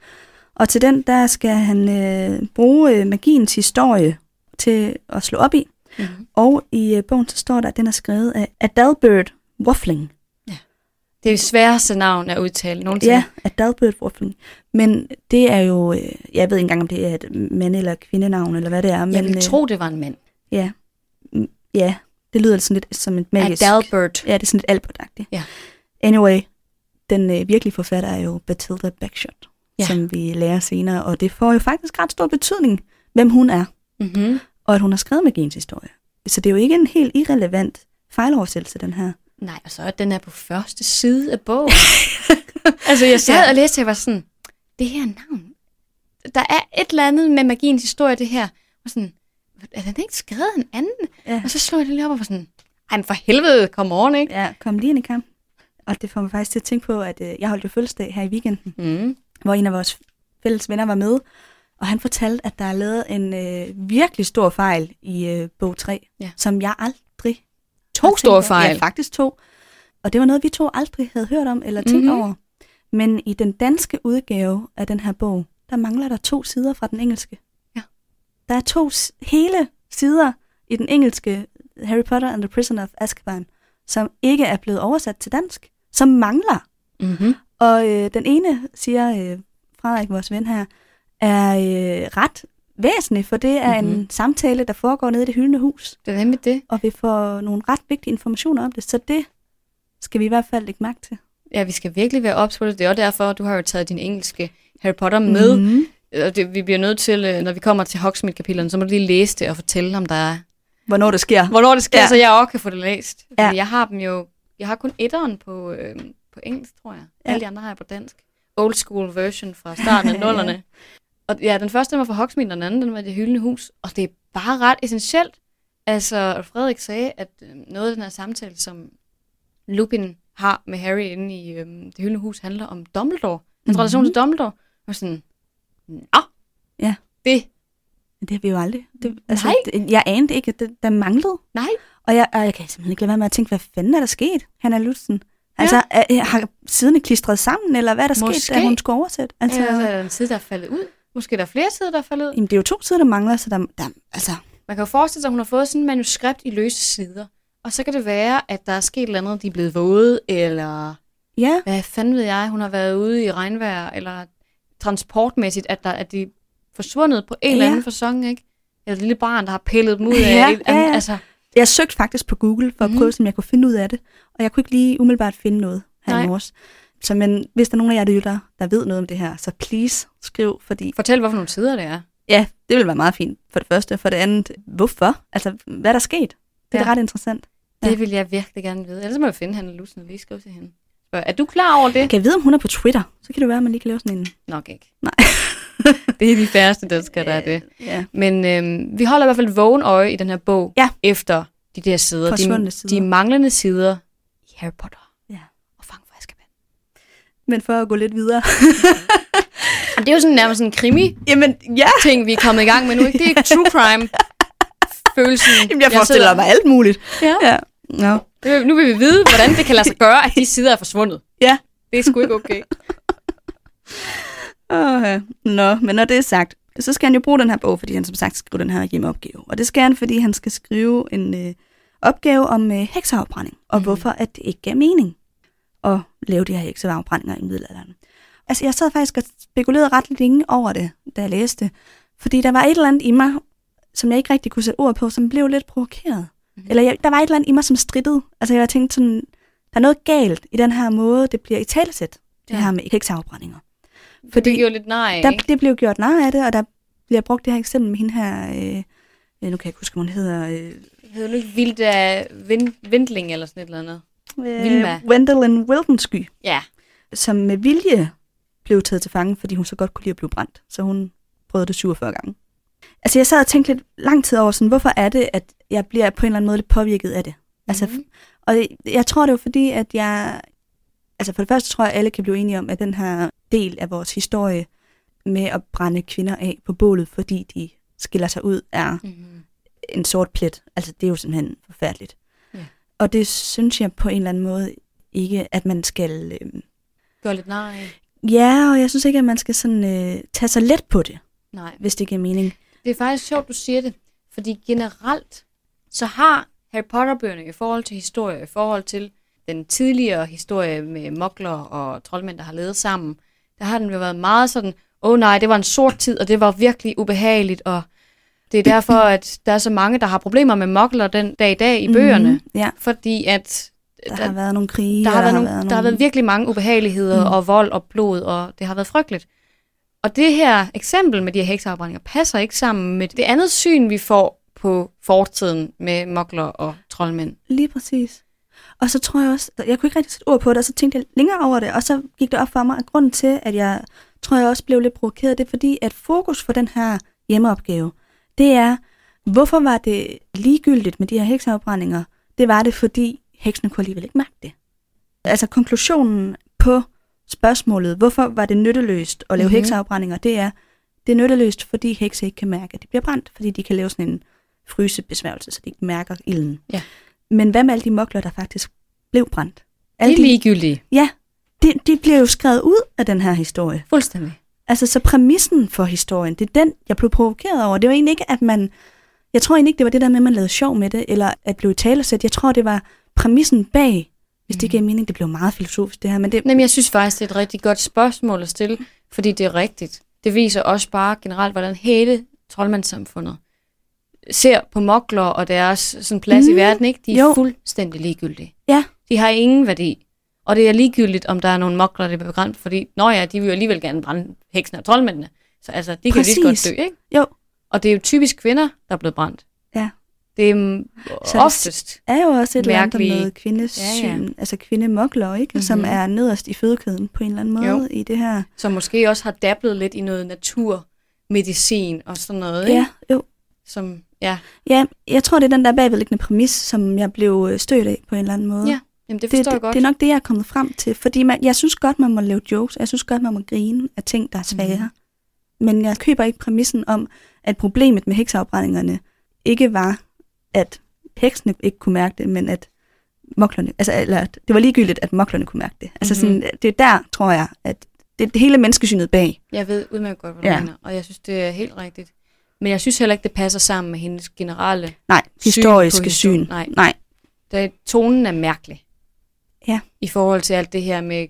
Speaker 2: Og til den, der skal han øh, bruge øh, magiens historie til at slå op i.
Speaker 1: Mm.
Speaker 2: Og i øh, bogen så står der, at den er skrevet af Adalbert Waffling.
Speaker 1: Det er det sværeste navn at udtale nogensinde.
Speaker 2: Ja, Adalbert Waffling. Men det er jo, øh, jeg ved ikke engang, om det er et mand- eller kvindenavn, eller hvad det er. Men,
Speaker 1: jeg ville
Speaker 2: øh,
Speaker 1: tro, det var en mand.
Speaker 2: Ja, Mm, ja det lyder sådan lidt som et magisk.
Speaker 1: Adalbert.
Speaker 2: Ja, det er sådan lidt albert
Speaker 1: Ja.
Speaker 2: Anyway, den øh, virkelige forfatter er jo Bathilda Bagshot, ja.
Speaker 1: Ja.
Speaker 2: som vi lærer senere. Og det får jo faktisk ret stor betydning, hvem hun er,
Speaker 1: Mm-hmm.
Speaker 2: og at hun har skrevet med gens historie. Så det er jo ikke en helt irrelevant fejloversættelse, den her.
Speaker 1: Nej, og så er den er på første side af bogen. altså, jeg sad
Speaker 2: Ja.
Speaker 1: ja. og læste, og jeg var sådan, det her navn, der er et eller andet med magiens historie, det her. Og sådan, er den ikke skrevet af en anden?
Speaker 2: Ja.
Speaker 1: Og så slog jeg det lige op og var sådan, ej, men for helvede, kom on, ikke?
Speaker 2: Ja, kom lige ind i kamp. Og det får mig faktisk til at tænke på, at øh, jeg holdt jo fødselsdag her i weekenden,
Speaker 1: Mm.
Speaker 2: hvor en af vores fælles venner var med, og han fortalte, at der er lavet en øh, virkelig stor fejl i øh, bog 3,
Speaker 1: Ja.
Speaker 2: som jeg aldrig...
Speaker 1: To
Speaker 2: har tænkt
Speaker 1: store
Speaker 2: over.
Speaker 1: fejl.
Speaker 2: Ja, faktisk to. Og det var noget, vi to aldrig havde hørt om eller tænkt
Speaker 1: Mhm.
Speaker 2: over. Men i den danske udgave af den her bog, der mangler der to sider fra den engelske.
Speaker 1: Ja.
Speaker 2: Der er to s- hele sider i den engelske Harry Potter and the Prisoner of Azkaban, som ikke er blevet oversat til dansk, som mangler.
Speaker 1: Mm-hmm.
Speaker 2: Og øh, den ene, siger øh, Frederik, vores ven her, er øh, ret væsentlig, for det er mm-hmm. en
Speaker 1: Mhm.
Speaker 2: samtale, der foregår nede i det hyldende hus,
Speaker 1: Det er nemlig det.
Speaker 2: og vi får nogle ret vigtige informationer om det, så det skal vi i hvert fald lægge mærke til.
Speaker 1: Ja, vi skal virkelig være ops på det. Det er også derfor, du har jo taget din engelske Harry Potter med. Mm.
Speaker 2: Mm-hmm.
Speaker 1: Og det, vi bliver nødt til, øh, når vi kommer til Hogsmeade-kapitlerne, så må du lige læse det og fortælle, om der er
Speaker 2: hvornår det sker.
Speaker 1: hvornår det sker,
Speaker 2: Ja.
Speaker 1: ja. så jeg også kan få det læst. Fordi
Speaker 2: Ja.
Speaker 1: ja. jeg har dem jo, jeg har kun etteren på, øh, på engelsk, tror jeg.
Speaker 2: Ja.
Speaker 1: Ja. Alle de andre har jeg på dansk. Old school version fra starten af
Speaker 2: Ja.
Speaker 1: nullerne. Og ja, den første den var fra Hogsmeade, og den anden den var i det hyldende hus. Og det er bare ret essentielt. Altså, Frederik sagde, at øh, noget af den her samtale, som Lupin har med Harry inde i øh, det hyldende hus, handler om Dumbledore. Hans
Speaker 2: Mhm.
Speaker 1: mm-hmm. relation til Dumbledore. Og sådan, nå,
Speaker 2: Ja.
Speaker 1: det,
Speaker 2: Men det har vi jo aldrig. Det, altså,
Speaker 1: Nej.
Speaker 2: Det, jeg anede ikke, at det, der manglede.
Speaker 1: nej,
Speaker 2: Og jeg, og jeg kan simpelthen ikke lade være med at tænke, hvad fanden er der sket, Hanna Lutzen? Altså, er, er, har siderne klistret sammen, eller hvad er der sket, da
Speaker 1: Måske.
Speaker 2: hun skulle oversætte? Altså,
Speaker 1: altså, er der en side, der er faldet ud. Måske er der flere sider, der er faldet ud.
Speaker 2: Jamen, det er jo to sider, der mangler, så der, der altså,
Speaker 1: Man kan jo forestille sig, at hun har fået sådan et manuskript i løse sider. Og så kan det være, at der er sket et eller andet, de er blevet våde, eller
Speaker 2: ja,
Speaker 1: hvad fanden ved jeg, hun har været ude i regnvejr, eller transportmæssigt, at, der, at de er forsvundet på en eller
Speaker 2: Ja.
Speaker 1: anden fasong, ikke? Eller et lille barn, der har pillet dem ud af.
Speaker 2: Ja,
Speaker 1: et,
Speaker 2: ja, ja.
Speaker 1: Altså,
Speaker 2: jeg søgte faktisk på Google for at
Speaker 1: Mhm.
Speaker 2: prøve, som jeg kunne finde ud af det, og jeg kunne ikke lige umiddelbart finde noget her i
Speaker 1: Nej.
Speaker 2: morges. Så men, hvis der er nogen af jer, der lytter, der ved noget om det her, så please skriv, fordi
Speaker 1: fortæl, hvorfor nogle sider det er.
Speaker 2: ja, det ville være meget fint for det første, for det andet, hvorfor? Altså, hvad er der sket? Det er
Speaker 1: Ja.
Speaker 2: da ret interessant.
Speaker 1: Det
Speaker 2: Ja.
Speaker 1: vil jeg virkelig gerne vide. Ellers må jeg finde hende Lusen og lige skrive til hende. Spørg, er du klar over det?
Speaker 2: Kan jeg vide, om hun er på Twitter? Så kan det være, at man lige kan lave sådan en...
Speaker 1: Nok ikke.
Speaker 2: Nej.
Speaker 1: det er de færreste danskere, der er det.
Speaker 2: Ja.
Speaker 1: Men øhm, vi holder i hvert fald et vågen øje i den her bog,
Speaker 2: Ja.
Speaker 1: efter de der sider
Speaker 2: Forsvundne
Speaker 1: de,
Speaker 2: sider.
Speaker 1: de manglende sider i Harry Potter
Speaker 2: Ja.
Speaker 1: og Fang for Azkaban.
Speaker 2: Men for at gå lidt videre...
Speaker 1: Og det er jo sådan nærmest sådan en krimi-ting,
Speaker 2: Jamen, ja!
Speaker 1: vi er kommet i gang med nu. Ikke? Det er ikke true crime-følelsen.
Speaker 2: Jamen, jeg forestiller
Speaker 1: sidder-
Speaker 2: mig alt muligt.
Speaker 1: Ja.
Speaker 2: Ja. No.
Speaker 1: Det vil- Nu vil vi vide, hvordan det kan lade sig gøre, at de sider er forsvundet.
Speaker 2: Ja.
Speaker 1: Det er sgu ikke okay.
Speaker 2: Okay. Nå, men når det er sagt, så skal han jo bruge den her bog, fordi han som sagt skriver den her hjemmeopgave. Og det skal han, fordi han skal skrive en øh, opgave om øh, hekseafbrænding, og mm.
Speaker 1: Mhm.
Speaker 2: hvorfor at det ikke giver mening at lave de her hekseafbrændinger i middelalderen. Altså, jeg sad faktisk og spekulerede ret længe over det, da jeg læste, fordi der var et eller andet i mig, som jeg ikke rigtig kunne sætte ord på, som blev lidt provokeret. Mm.
Speaker 1: Mhm.
Speaker 2: Eller jeg, der var et eller andet i mig, som strittede. Altså, jeg tænkte sådan, der er noget galt i den her måde, det bliver i talesæt, det
Speaker 1: Ja.
Speaker 2: her med hekseafbrændinger.
Speaker 1: Fordi det er jo lidt nej,
Speaker 2: Der,
Speaker 1: ikke?
Speaker 2: det blev gjort nar af det, og der bliver brugt det her eksempel med hende her, øh, øh, nu kan jeg ikke huske, hvad hun hedder. Øh,
Speaker 1: Det hedder nu ikke vildt af vind, vindling eller sådan et eller andet. Vilma.
Speaker 2: Øh, Wendelin Wiltonsky,
Speaker 1: Ja.
Speaker 2: som med vilje blev taget til fange, fordi hun så godt kunne lide at blive brændt. Så hun prøvede det 47 gange. Altså jeg sad og tænkte lidt lang tid over, sådan, hvorfor er det, at jeg bliver på en eller anden måde lidt påvirket af det? Altså,
Speaker 1: Mhm.
Speaker 2: Og jeg tror, det var fordi, at jeg... Altså for det første tror jeg, alle kan blive enige om, at den her del af vores historie med at brænde kvinder af på bålet, fordi de skiller sig ud, er
Speaker 1: Mhm.
Speaker 2: en sort plet. Altså det er jo simpelthen forfærdeligt.
Speaker 1: Ja.
Speaker 2: Og det synes jeg på en eller anden måde ikke, at man skal... Øh...
Speaker 1: Gør lidt nej.
Speaker 2: Ja, og jeg synes ikke, at man skal sådan øh, tage så let på det,
Speaker 1: Nej.
Speaker 2: hvis det giver mening.
Speaker 1: Det er faktisk sjovt, du siger det, fordi generelt så har Harry Potter-bøgerne i forhold til historie, i forhold til den tidligere historie med mokler og troldmænd, der har levet sammen, der har den jo været meget sådan, åh oh, nej, det var en sort tid, og det var virkelig ubehageligt, og det er derfor, at der er så mange, der har problemer med mokler den dag i dag i bøgerne, mm-hmm.
Speaker 2: Mhm, Ja,
Speaker 1: fordi at
Speaker 2: der, har været nogle krige,
Speaker 1: der, har,
Speaker 2: og
Speaker 1: været nogle, der har været virkelig mange ubehageligheder mm. og vold og blod, og det har været frygteligt. Og det her eksempel med de her hekseafbrændinger passer ikke sammen med det andet syn, vi får på fortiden med mokler og troldmænd.
Speaker 2: Lige præcis. Og så tror jeg også, jeg kunne ikke rigtig sætte ord på det, og så tænkte jeg længere over det, og så gik det op for mig, at grunden til, at jeg tror, jeg også blev lidt provokeret, det er fordi, at fokus for den her hjemmeopgave, det er, hvorfor var det ligegyldigt med de her hekseafbrændinger? Det var det, fordi heksene kunne alligevel ikke mærke det. Altså konklusionen på spørgsmålet, hvorfor var det nytteløst at lave mm-hmm.
Speaker 1: Mhm.
Speaker 2: hekseafbrændinger, det er, det er nytteløst, fordi hekse ikke kan mærke, at de bliver brændt, fordi de kan lave sådan en frysebesværgelse, så de ikke mærker ilden.
Speaker 1: Ja.
Speaker 2: Men hvad med alle de mokler, der faktisk blev brændt?
Speaker 1: De er ligegyldige.
Speaker 2: Ja, de, de bliver jo skrevet ud af den her historie.
Speaker 1: Fuldstændig.
Speaker 2: Altså, så præmissen for historien, det er den, jeg blev provokeret over. Det var egentlig ikke, at man... Jeg tror egentlig ikke, det var det der med, at man lavede sjov med det, eller at blive talesæt. Jeg tror, det var præmissen bag, hvis
Speaker 1: Mm.
Speaker 2: det giver mening. Det blev meget filosofisk, det her, men det...
Speaker 1: Jamen, jeg synes faktisk, det er et rigtig godt spørgsmål at stille, fordi det er rigtigt. Det viser også bare generelt, hvordan hele troldmandssamfundet ser på mokler og deres sådan, plads mm.
Speaker 2: Mm.
Speaker 1: i verden. Ikke? De er
Speaker 2: Jo.
Speaker 1: jo. fuldstændig ligegyldige.
Speaker 2: Ja,
Speaker 1: De har ingen værdi. Og det er ligegyldigt, om der er nogle mokler, der bliver begrænset, fordi når ja, de vil jo alligevel gerne brænde heksene og troldmændene. Så altså, de kan jo lige så
Speaker 2: Præcis.
Speaker 1: godt dø, ikke?
Speaker 2: Jo.
Speaker 1: Og det er jo typisk kvinder, der er blevet brændt.
Speaker 2: ja.
Speaker 1: Det er
Speaker 2: Så
Speaker 1: så
Speaker 2: er det
Speaker 1: oftest.
Speaker 2: er jo også et eller andet
Speaker 1: Mærkelige-
Speaker 2: med kvindesyn,
Speaker 1: Ja,
Speaker 2: ja, ja. altså kvindemokler, ikke? Mm-hmm. Som
Speaker 1: Mhm.
Speaker 2: er nederst i fødekæden på en eller anden måde
Speaker 1: Jo.
Speaker 2: i det her.
Speaker 1: Som måske også har dablet lidt i noget naturmedicin og sådan noget.
Speaker 2: Ja,
Speaker 1: Ikke?
Speaker 2: jo.
Speaker 1: Som, ja.
Speaker 2: Ja, jeg tror, det er den der bagvedliggende præmis, som jeg blev øh, stødt af på en eller anden måde.
Speaker 1: Ja, Jamen, det forstår
Speaker 2: det,
Speaker 1: jeg godt.
Speaker 2: det er nok det, jeg er kommet frem til. Fordi man, jeg synes godt, man må lave jokes, og jeg synes godt, man må grine af ting, der er svære.
Speaker 1: Mhm.
Speaker 2: Mm. Men jeg køber ikke præmissen om, at problemet med hekseafbrændingerne ikke var, at heksene ikke kunne mærke det, men at moklerne, altså, eller, at det var ligegyldigt, at moklerne kunne mærke det. Altså
Speaker 1: Mhm.
Speaker 2: sådan, det er der, tror jeg, at det, det hele menneskesynet bag.
Speaker 1: Jeg ved udmærket godt, hvad du
Speaker 2: Ja.
Speaker 1: ja. mener, og jeg synes, det er helt rigtigt. Men jeg synes heller ikke, det passer sammen med hendes generelle
Speaker 2: Nej,
Speaker 1: syn.
Speaker 2: historiske
Speaker 1: på
Speaker 2: syn.
Speaker 1: historien. Nej,
Speaker 2: Nej.
Speaker 1: det, tonen er mærkelig.
Speaker 2: Ja.
Speaker 1: I forhold til alt det her med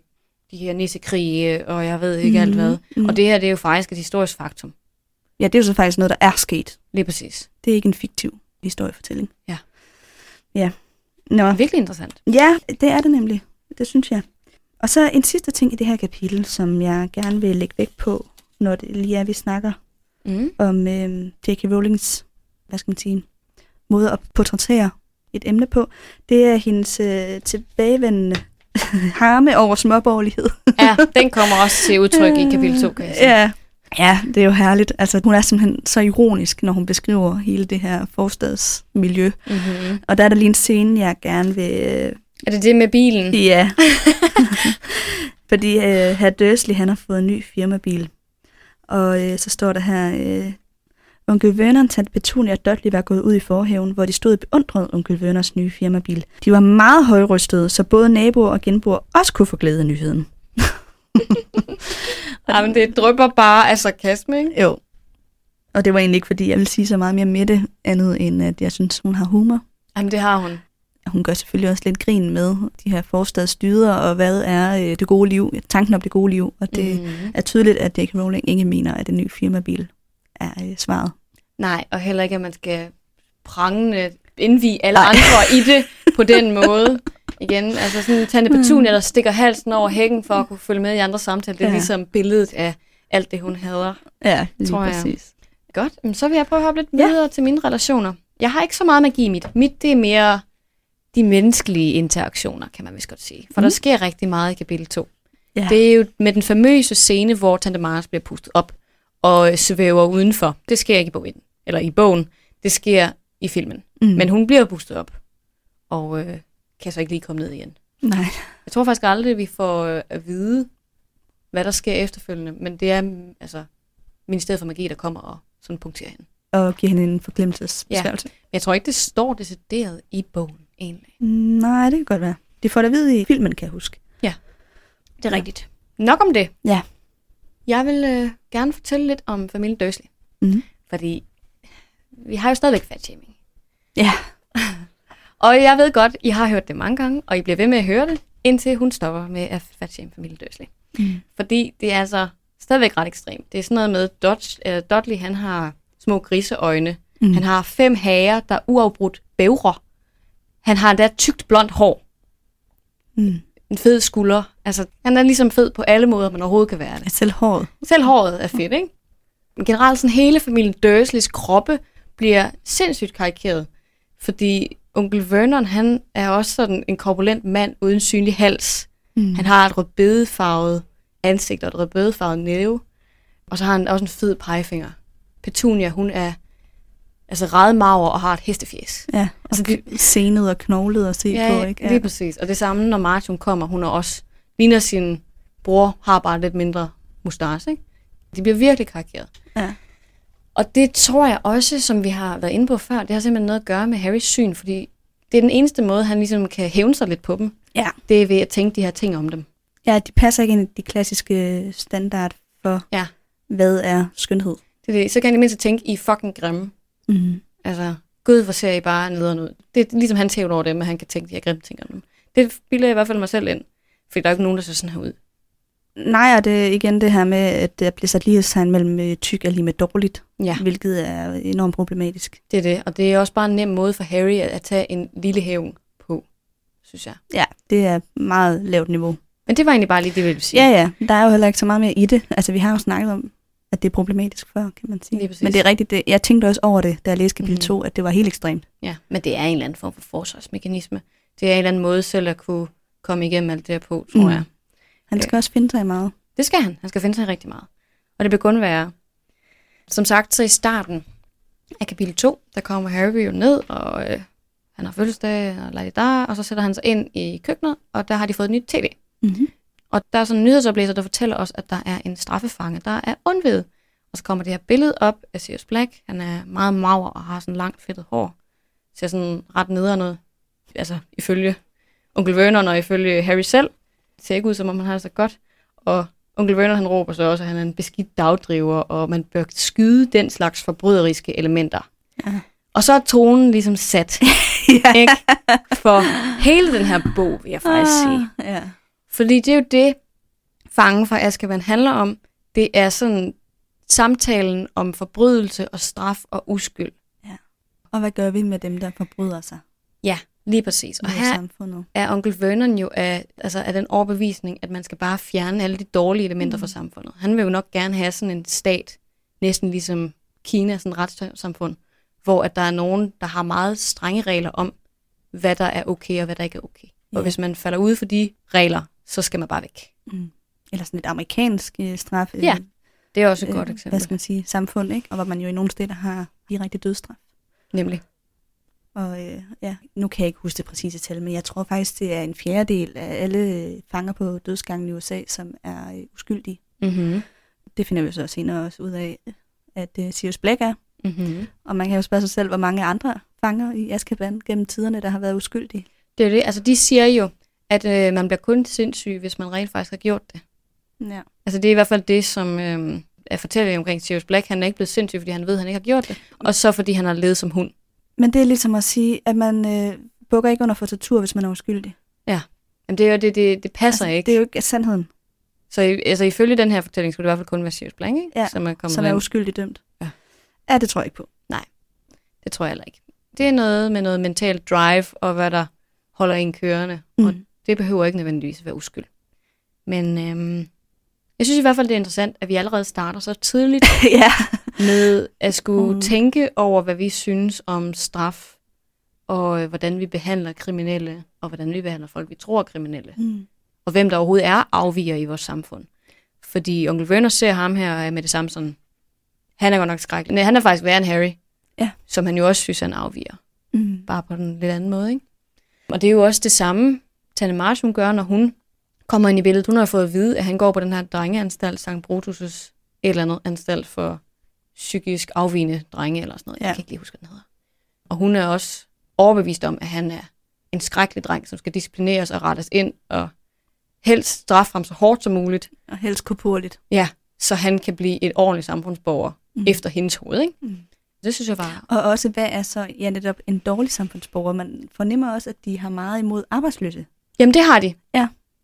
Speaker 1: de her nissekrige, og jeg ved ikke mm. alt hvad.
Speaker 2: Mm.
Speaker 1: Og det her, det er jo faktisk et historisk faktum.
Speaker 2: Ja, det er jo så faktisk noget, der er sket.
Speaker 1: Lige præcis.
Speaker 2: Det er ikke en fiktiv historiefortælling.
Speaker 1: Ja.
Speaker 2: Ja. Nå.
Speaker 1: Virkelig interessant.
Speaker 2: Ja, det er det nemlig. Det synes jeg. Og så en sidste ting i det her kapitel, som jeg gerne vil lægge vægt på, når det lige er, vi snakker
Speaker 1: Mm.
Speaker 2: om øh, J.K. Rowlings, hvad skal man sige, måde at portrættere et emne på, det er hendes øh, tilbagevendende harme over småborgerlighed.
Speaker 1: Ja, den kommer også til udtryk i kapitel 2, kan jeg sige.
Speaker 2: Ja. ja, det er jo herligt. Altså, hun er simpelthen så ironisk, når hun beskriver hele det her forstadsmiljø.
Speaker 1: Mm-hmm.
Speaker 2: Og der er der lige en scene, jeg gerne vil øh,
Speaker 1: Er det det med bilen?
Speaker 2: Ja. Fordi øh, herr Dursley, han har fået en ny firmabil. Og øh, så står der her, øh, onkel Vernon, tante Petunia og Dudley var gået ud i forhaven, hvor de stod og beundrede onkel Vernons nye firmabil. De var meget højrystede, så både naboer og genboer også kunne få glæde af nyheden.
Speaker 1: Jamen, det drypper bare af sarkasme, ikke?
Speaker 2: Jo. Og det var egentlig ikke, fordi jeg vil sige så meget mere med det, andet end at jeg synes, hun har humor.
Speaker 1: Jamen, det har hun.
Speaker 2: Og Hun gør selvfølgelig også lidt grin med de her forstadsdyder, og hvad er øh, det gode liv, tanken om det gode liv, og det,
Speaker 1: Mm.
Speaker 2: er tydeligt, at J.K. Rowling ikke mener, at en ny firmabil er øh, svaret.
Speaker 1: Nej, og heller ikke, at man skal prangende indvige alle andre i det på den måde. Igen, altså sådan en tante Petunia, der stikker halsen over hækken for at kunne følge med i andre samtaler. Det er
Speaker 2: Mm. Ja.
Speaker 1: ja. ligesom billedet af alt det, hun hader.
Speaker 2: Ja, lige
Speaker 1: Tror jeg.
Speaker 2: præcis.
Speaker 1: Godt, jamen, så vil jeg prøve at hoppe lidt
Speaker 2: Ja.
Speaker 1: videre til mine relationer. Jeg har ikke så meget magi i mit. Mit, det er mere de menneskelige interaktioner, kan man vist godt sige. For mm. der sker rigtig meget i kapitel 2.
Speaker 2: Ja.
Speaker 1: Det er jo med den famøse scene, hvor Tante Mars bliver pustet op og øh, svæver udenfor. Det sker ikke i bogen. Eller i bogen. Det sker i filmen.
Speaker 2: Mm.
Speaker 1: Men hun bliver pustet op. Og øh, kan så ikke lige komme ned igen.
Speaker 2: Nej.
Speaker 1: Jeg tror faktisk aldrig, vi får øh, at vide, hvad der sker efterfølgende. Men det er mm, altså, Ministeriet for Magi, der kommer og sådan punkterer hende.
Speaker 2: Og give hende en forglemmelsesbesværgelse.
Speaker 1: Men jeg tror ikke, det står decideret i bogen egentlig.
Speaker 2: Ja. Nej, det kan godt være. Det får der ved i filmen, kan jeg huske.
Speaker 1: Det er rigtigt. Nok om det.
Speaker 2: Ja.
Speaker 1: Jeg vil øh, gerne fortælle lidt om familien Dursley.
Speaker 2: Mhm.
Speaker 1: Fordi vi har jo stadigvæk fatshaming.
Speaker 2: Ja.
Speaker 1: Og jeg ved godt, I har hørt det mange gange, og I bliver ved med at høre det, indtil hun stopper med at fatshame familien Dursley.
Speaker 2: Mm.
Speaker 1: Fordi det er altså stadigvæk ret ekstremt. Det er sådan noget med, Dodge, øh, Dudley han har små griseøjne.
Speaker 2: Mm.
Speaker 1: Mm. Han har fem hager, der uafbrudt bævrer. Han har endda tykt blondt hår.
Speaker 2: Mm.
Speaker 1: en fed skulder. Altså, han er ligesom fed på alle måder, man overhovedet kan være det.
Speaker 2: Selv håret.
Speaker 1: Selv håret er fedt, ikke? Men generelt sådan hele familien Dursleys kroppe bliver sindssygt karikeret, fordi onkel Vernon, han er også sådan en korpulent mand uden synlig hals.
Speaker 2: Mm.
Speaker 1: Han har et rødbedefarvet ansigt og et rødbedefarvet næve, og så har han også en fed pegefinger. Petunia, hun er altså redmager og har et hestefjes.
Speaker 2: Ja, og
Speaker 1: Altså,
Speaker 2: altså, senet og knoglet og se
Speaker 1: Ja,
Speaker 2: på, ikke?
Speaker 1: lige præcis. Og det samme, når Martin kommer, hun er også, ligner sin bror, har bare lidt mindre mustache, ikke? De bliver virkelig karikeret.
Speaker 2: Ja.
Speaker 1: Og det tror jeg også, som vi har været inde på før, det har simpelthen noget at gøre med Harrys syn, fordi det er den eneste måde, han ligesom kan hævne sig lidt på dem,
Speaker 2: ja.
Speaker 1: det er ved at tænke de her ting om dem.
Speaker 2: ja, de passer ikke ind i de klassiske standard for,
Speaker 1: Ja.
Speaker 2: hvad er skønhed.
Speaker 1: Det er det. Så kan han i det mindste tænke, I er fucking grimme.
Speaker 2: Mm.
Speaker 1: Altså, gud, hvor ser I bare nederen ud. Det er ligesom han tævler over dem, at han kan tænke de her grimme ting om dem. Det bilder jeg i hvert fald mig selv ind, fordi der er jo ikke nogen, der ser sådan her ud.
Speaker 2: Nej, og det er igen det her med, at der bliver sat lighedstegn mellem øh, tyk er lige med dårligt,
Speaker 1: Ja.
Speaker 2: hvilket er enormt problematisk.
Speaker 1: Det er det, og det er også bare en nem måde for Harry at, at tage en lille hævn på, synes jeg.
Speaker 2: Ja, det er meget lavt niveau.
Speaker 1: Men det var egentlig bare lige det, jeg ville sige.
Speaker 2: Ja, ja, der er jo heller ikke så meget mere i det. Altså, vi har jo snakket om, at det er problematisk for, kan man sige.
Speaker 1: Lige præcis.
Speaker 2: Men det er rigtigt, det, jeg tænkte også over det, da jeg læste kapitel
Speaker 1: Mhm.
Speaker 2: 2, at det var helt ekstremt.
Speaker 1: Ja, men det er en eller anden form for forsvarsmekanisme. Det er en eller anden måde selv at kunne komme igennem alt det her på, tror
Speaker 2: Mm.
Speaker 1: mm. jeg.
Speaker 2: Han skal også finde sig i meget.
Speaker 1: Det skal han. Han skal finde sig i rigtig meget. Og det vil kun være... Som sagt, så i starten af kapitel 2, der kommer Harry jo ned, og øh, han har fødselsdag, og la da, og så sætter han sig ind i køkkenet, og der har de fået et nyt tv. Mhm.
Speaker 2: Mm-hmm.
Speaker 1: Og der er sådan en nyhedsoplæser, der fortæller os, at der er en straffefange, der er undved. Og så kommer det her billede op af Sirius Black. Han er meget mager og har sådan langt fedtet hår. Ser sådan ret nedernet, altså ifølge onkel Vernon og ifølge Harry selv. Ser ikke ud, som om han har det så godt. Og onkel Vernon han råber så også, at han er en beskidt dagdriver, og man bør skyde den slags forbryderiske elementer.
Speaker 2: Ja.
Speaker 1: Og så er tonen ligesom sat
Speaker 2: ja.
Speaker 1: ikke? for hele den her bog, vil jeg faktisk sige.
Speaker 2: Ah, Ja.
Speaker 1: Fordi det er jo det, fangen fra Azkaban handler om. Det er sådan samtalen om forbrydelse og straf og uskyld.
Speaker 2: Og hvad gør vi med dem, der forbryder sig
Speaker 1: Ja, lige præcis. Og
Speaker 2: mod
Speaker 1: her
Speaker 2: samfundet?
Speaker 1: er onkel Vernon jo af, altså af den overbevisning, at man skal bare fjerne alle de dårlige elementer fra samfundet. Han vil jo nok gerne have sådan en stat, næsten ligesom Kina, sådan et retssamfund, hvor at der er nogen, der har meget strenge regler om, hvad der er okay og hvad der ikke er okay. Og
Speaker 2: Ja.
Speaker 1: hvis man falder ud for de regler, så skal man bare væk.
Speaker 2: Mm. Eller sådan et amerikansk øh, straf. øh,
Speaker 1: Ja, Det er også et godt
Speaker 2: øh,
Speaker 1: eksempel,
Speaker 2: Hvad skal man sige? Samfund, ikke? Og hvor man jo i nogle steder har direkte dødsstraf.
Speaker 1: nemlig.
Speaker 2: Og øh, ja, nu kan jeg ikke huske det præcise tal, men jeg tror faktisk, det er en fjerdedel af alle øh, fanger på dødsgangen i USA, som er øh, uskyldige.
Speaker 1: Mm-hmm.
Speaker 2: Det finder vi så senere også ud af, at øh, Sirius Black er.
Speaker 1: Mm-hmm.
Speaker 2: Og man kan jo spørge sig selv, hvor mange andre fanger i Azkaban gennem tiderne, der har været uskyldige.
Speaker 1: Det er det. Altså, de siger jo, at øh, man bliver kun sindssyg, hvis man rent faktisk har gjort det.
Speaker 2: Ja.
Speaker 1: Altså, det er i hvert fald det, som øh, er fortæller omkring Sirius Black. Han er ikke blevet sindssyg, fordi han ved, at han ikke har gjort det. Og så fordi han har levet som hund.
Speaker 2: Men det er ligesom at sige, at man øh, bukker ikke under for tortur, hvis man er uskyldig.
Speaker 1: Jamen, det, er jo, det, det, det passer altså, ikke.
Speaker 2: Det
Speaker 1: Det...
Speaker 2: er jo ikke sandheden,
Speaker 1: Så i- altså, ifølge den her fortælling skulle det i hvert fald kun være Sirius Black, ikke?
Speaker 2: Ja,
Speaker 1: som er kommet
Speaker 2: som er
Speaker 1: herind.
Speaker 2: uskyldig dømt.
Speaker 1: Ja.
Speaker 2: ja, det tror jeg ikke på.
Speaker 1: Det tror jeg heller ikke. Det er noget med noget mentalt drive og hvad der holder en kørende. Mm. Og
Speaker 2: Mm.
Speaker 1: det behøver ikke nødvendigvis at være uskyld. Men øhm, jeg synes i hvert fald, det er interessant, at vi allerede starter så tidligt
Speaker 2: ja.
Speaker 1: med at skulle
Speaker 2: Mm.
Speaker 1: mm. tænke over, hvad vi synes om straf, og øh, hvordan vi behandler kriminelle, og hvordan vi behandler folk, vi tror er kriminelle,
Speaker 2: Mm.
Speaker 1: og hvem der overhovedet er afviger i vores samfund. Fordi onkel Werner ser ham her og er med det samme sådan, han er godt nok skrækkelig. Nej, han er faktisk værre end Harry,
Speaker 2: Ja.
Speaker 1: som han jo også synes, han afviger,
Speaker 2: Mm.
Speaker 1: bare på en lidt anden måde. Ikke? Og det er jo også det samme, Tanne Marsh, hun gør, når hun kommer ind i billedet. Hun har fået at vide, at han går på den her drengeanstalt, St. Brutus' et eller andet anstalt for psykisk afvigende drenge eller sådan noget. Ja.
Speaker 2: Ja.
Speaker 1: Jeg kan ikke lige huske, hvad den hedder. Og hun er også overbevist om, at han er en skrækkelig dreng, som skal disciplineres og rettes ind og helst straffe ham så hårdt som muligt,
Speaker 2: Og helst koporligt.
Speaker 1: så han kan blive et ordentligt samfundsborger
Speaker 2: Mm.
Speaker 1: mm. efter hendes hoved. Ikke?
Speaker 2: Mm.
Speaker 1: Mm. Det synes jeg var...
Speaker 2: Og også, hvad er så ja, netop en dårlig samfundsborger? Man fornemmer også, at de har meget imod arbejdsløse.
Speaker 1: Jamen, det har de.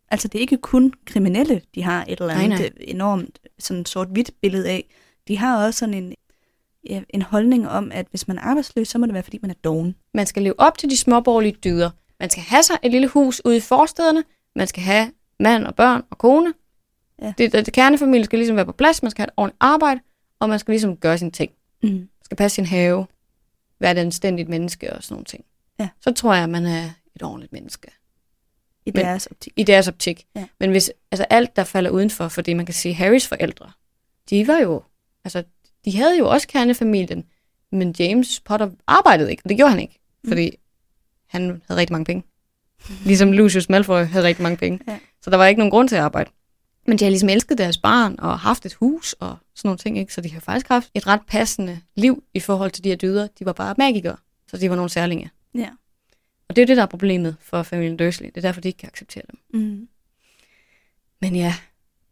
Speaker 2: Altså, det er ikke kun kriminelle, de har et eller
Speaker 1: Nej,
Speaker 2: andet
Speaker 1: nej.
Speaker 2: øh, enormt sådan sort-hvidt billede af. De har også sådan en, ja, en holdning om, at hvis man er arbejdsløs, så må det være, fordi man er doven.
Speaker 1: Man skal leve op til de småborgerlige dyder. Man skal have sig et lille hus ude i forstederne. Man skal have mand og børn og kone.
Speaker 2: Ja.
Speaker 1: Ja. Det, det, kernefamilien skal ligesom være på plads. Man skal have et ordentligt arbejde, og man skal ligesom gøre sine ting.
Speaker 2: Mm.
Speaker 1: skal passe sin have, være et anstændigt menneske og sådan nogle ting.
Speaker 2: Ja.
Speaker 1: Så tror jeg, at man er et ordentligt menneske
Speaker 2: I
Speaker 1: Men-
Speaker 2: deres optik.
Speaker 1: i deres optik.
Speaker 2: Ja.
Speaker 1: Men hvis altså alt, der falder udenfor, fordi man kan sige, Harrys forældre, de var jo, altså de havde jo også kernefamilien, men James Potter arbejdede ikke, og det gjorde han ikke,
Speaker 2: Mm.
Speaker 1: fordi han havde rigtig mange penge. Ligesom Lucius Malfoy havde rigtig mange penge.
Speaker 2: Ja.
Speaker 1: Så der var ikke nogen grund til at arbejde. Men de har ligesom elsket deres barn og haft et hus og sådan nogle ting, ikke? så de har faktisk haft et ret passende liv i forhold til de her dyder. De var bare magikere, så de var nogle særlinge.
Speaker 2: Ja.
Speaker 1: Og det er jo det, der er problemet for familien Dursley. Det er derfor, de ikke kan acceptere dem.
Speaker 2: Mm.
Speaker 1: Men ja,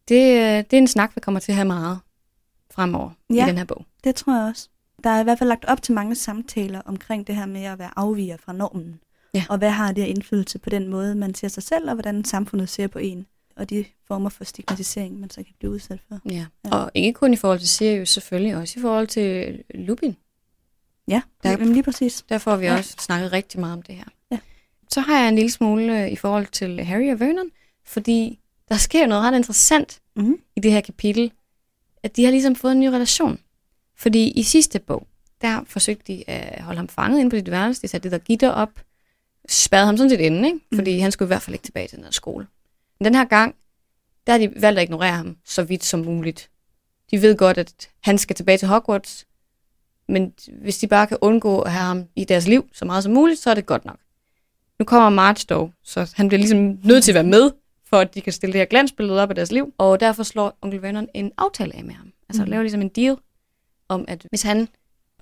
Speaker 1: det, øh, det er en snak, vi kommer til at have meget fremover ja.
Speaker 2: Ja.
Speaker 1: i den her bog.
Speaker 2: Det tror jeg også. Der er i hvert fald lagt op til mange samtaler omkring det her med at være afviger fra normen.
Speaker 1: Ja.
Speaker 2: Og hvad har det af indflydelse på den måde, man ser sig selv, og hvordan samfundet ser på en. Og de former for stigmatisering, man så kan blive udsat for.
Speaker 1: Ja.
Speaker 2: Ja.
Speaker 1: Ja. Og ikke kun i forhold til Sirius, selvfølgelig også i forhold til Lupin.
Speaker 2: Ja,
Speaker 1: Der-
Speaker 2: jamen lige præcis.
Speaker 1: Der får vi
Speaker 2: Ja.
Speaker 1: ja. også snakket rigtig meget om det her.
Speaker 2: Ja.
Speaker 1: Så har jeg en lille smule øh, i forhold til Harry og Vernon, fordi der sker jo noget ret interessant
Speaker 2: Mhm.
Speaker 1: i det her kapitel. at de har ligesom fået en ny relation. Fordi i sidste bog, der forsøgte de at holde ham fanget inde på dit værelse. De satte det der gitter op, spærrede ham sådan set inde, ikke? fordi mm. han skulle i hvert fald ikke tilbage til den her skole. Men den her gang, der har de valgt at ignorere ham så vidt som muligt. De ved godt, at han skal tilbage til Hogwarts, men hvis de bare kan undgå at have ham i deres liv så meget som muligt, så er det godt nok. Nu kommer March dog, så han bliver ligesom nødt til at være med, for at de kan stille det her glansbillede op af deres liv. Og derfor slår onkel Vernon en aftale af med ham. Altså mm. laver ligesom en deal om, at hvis han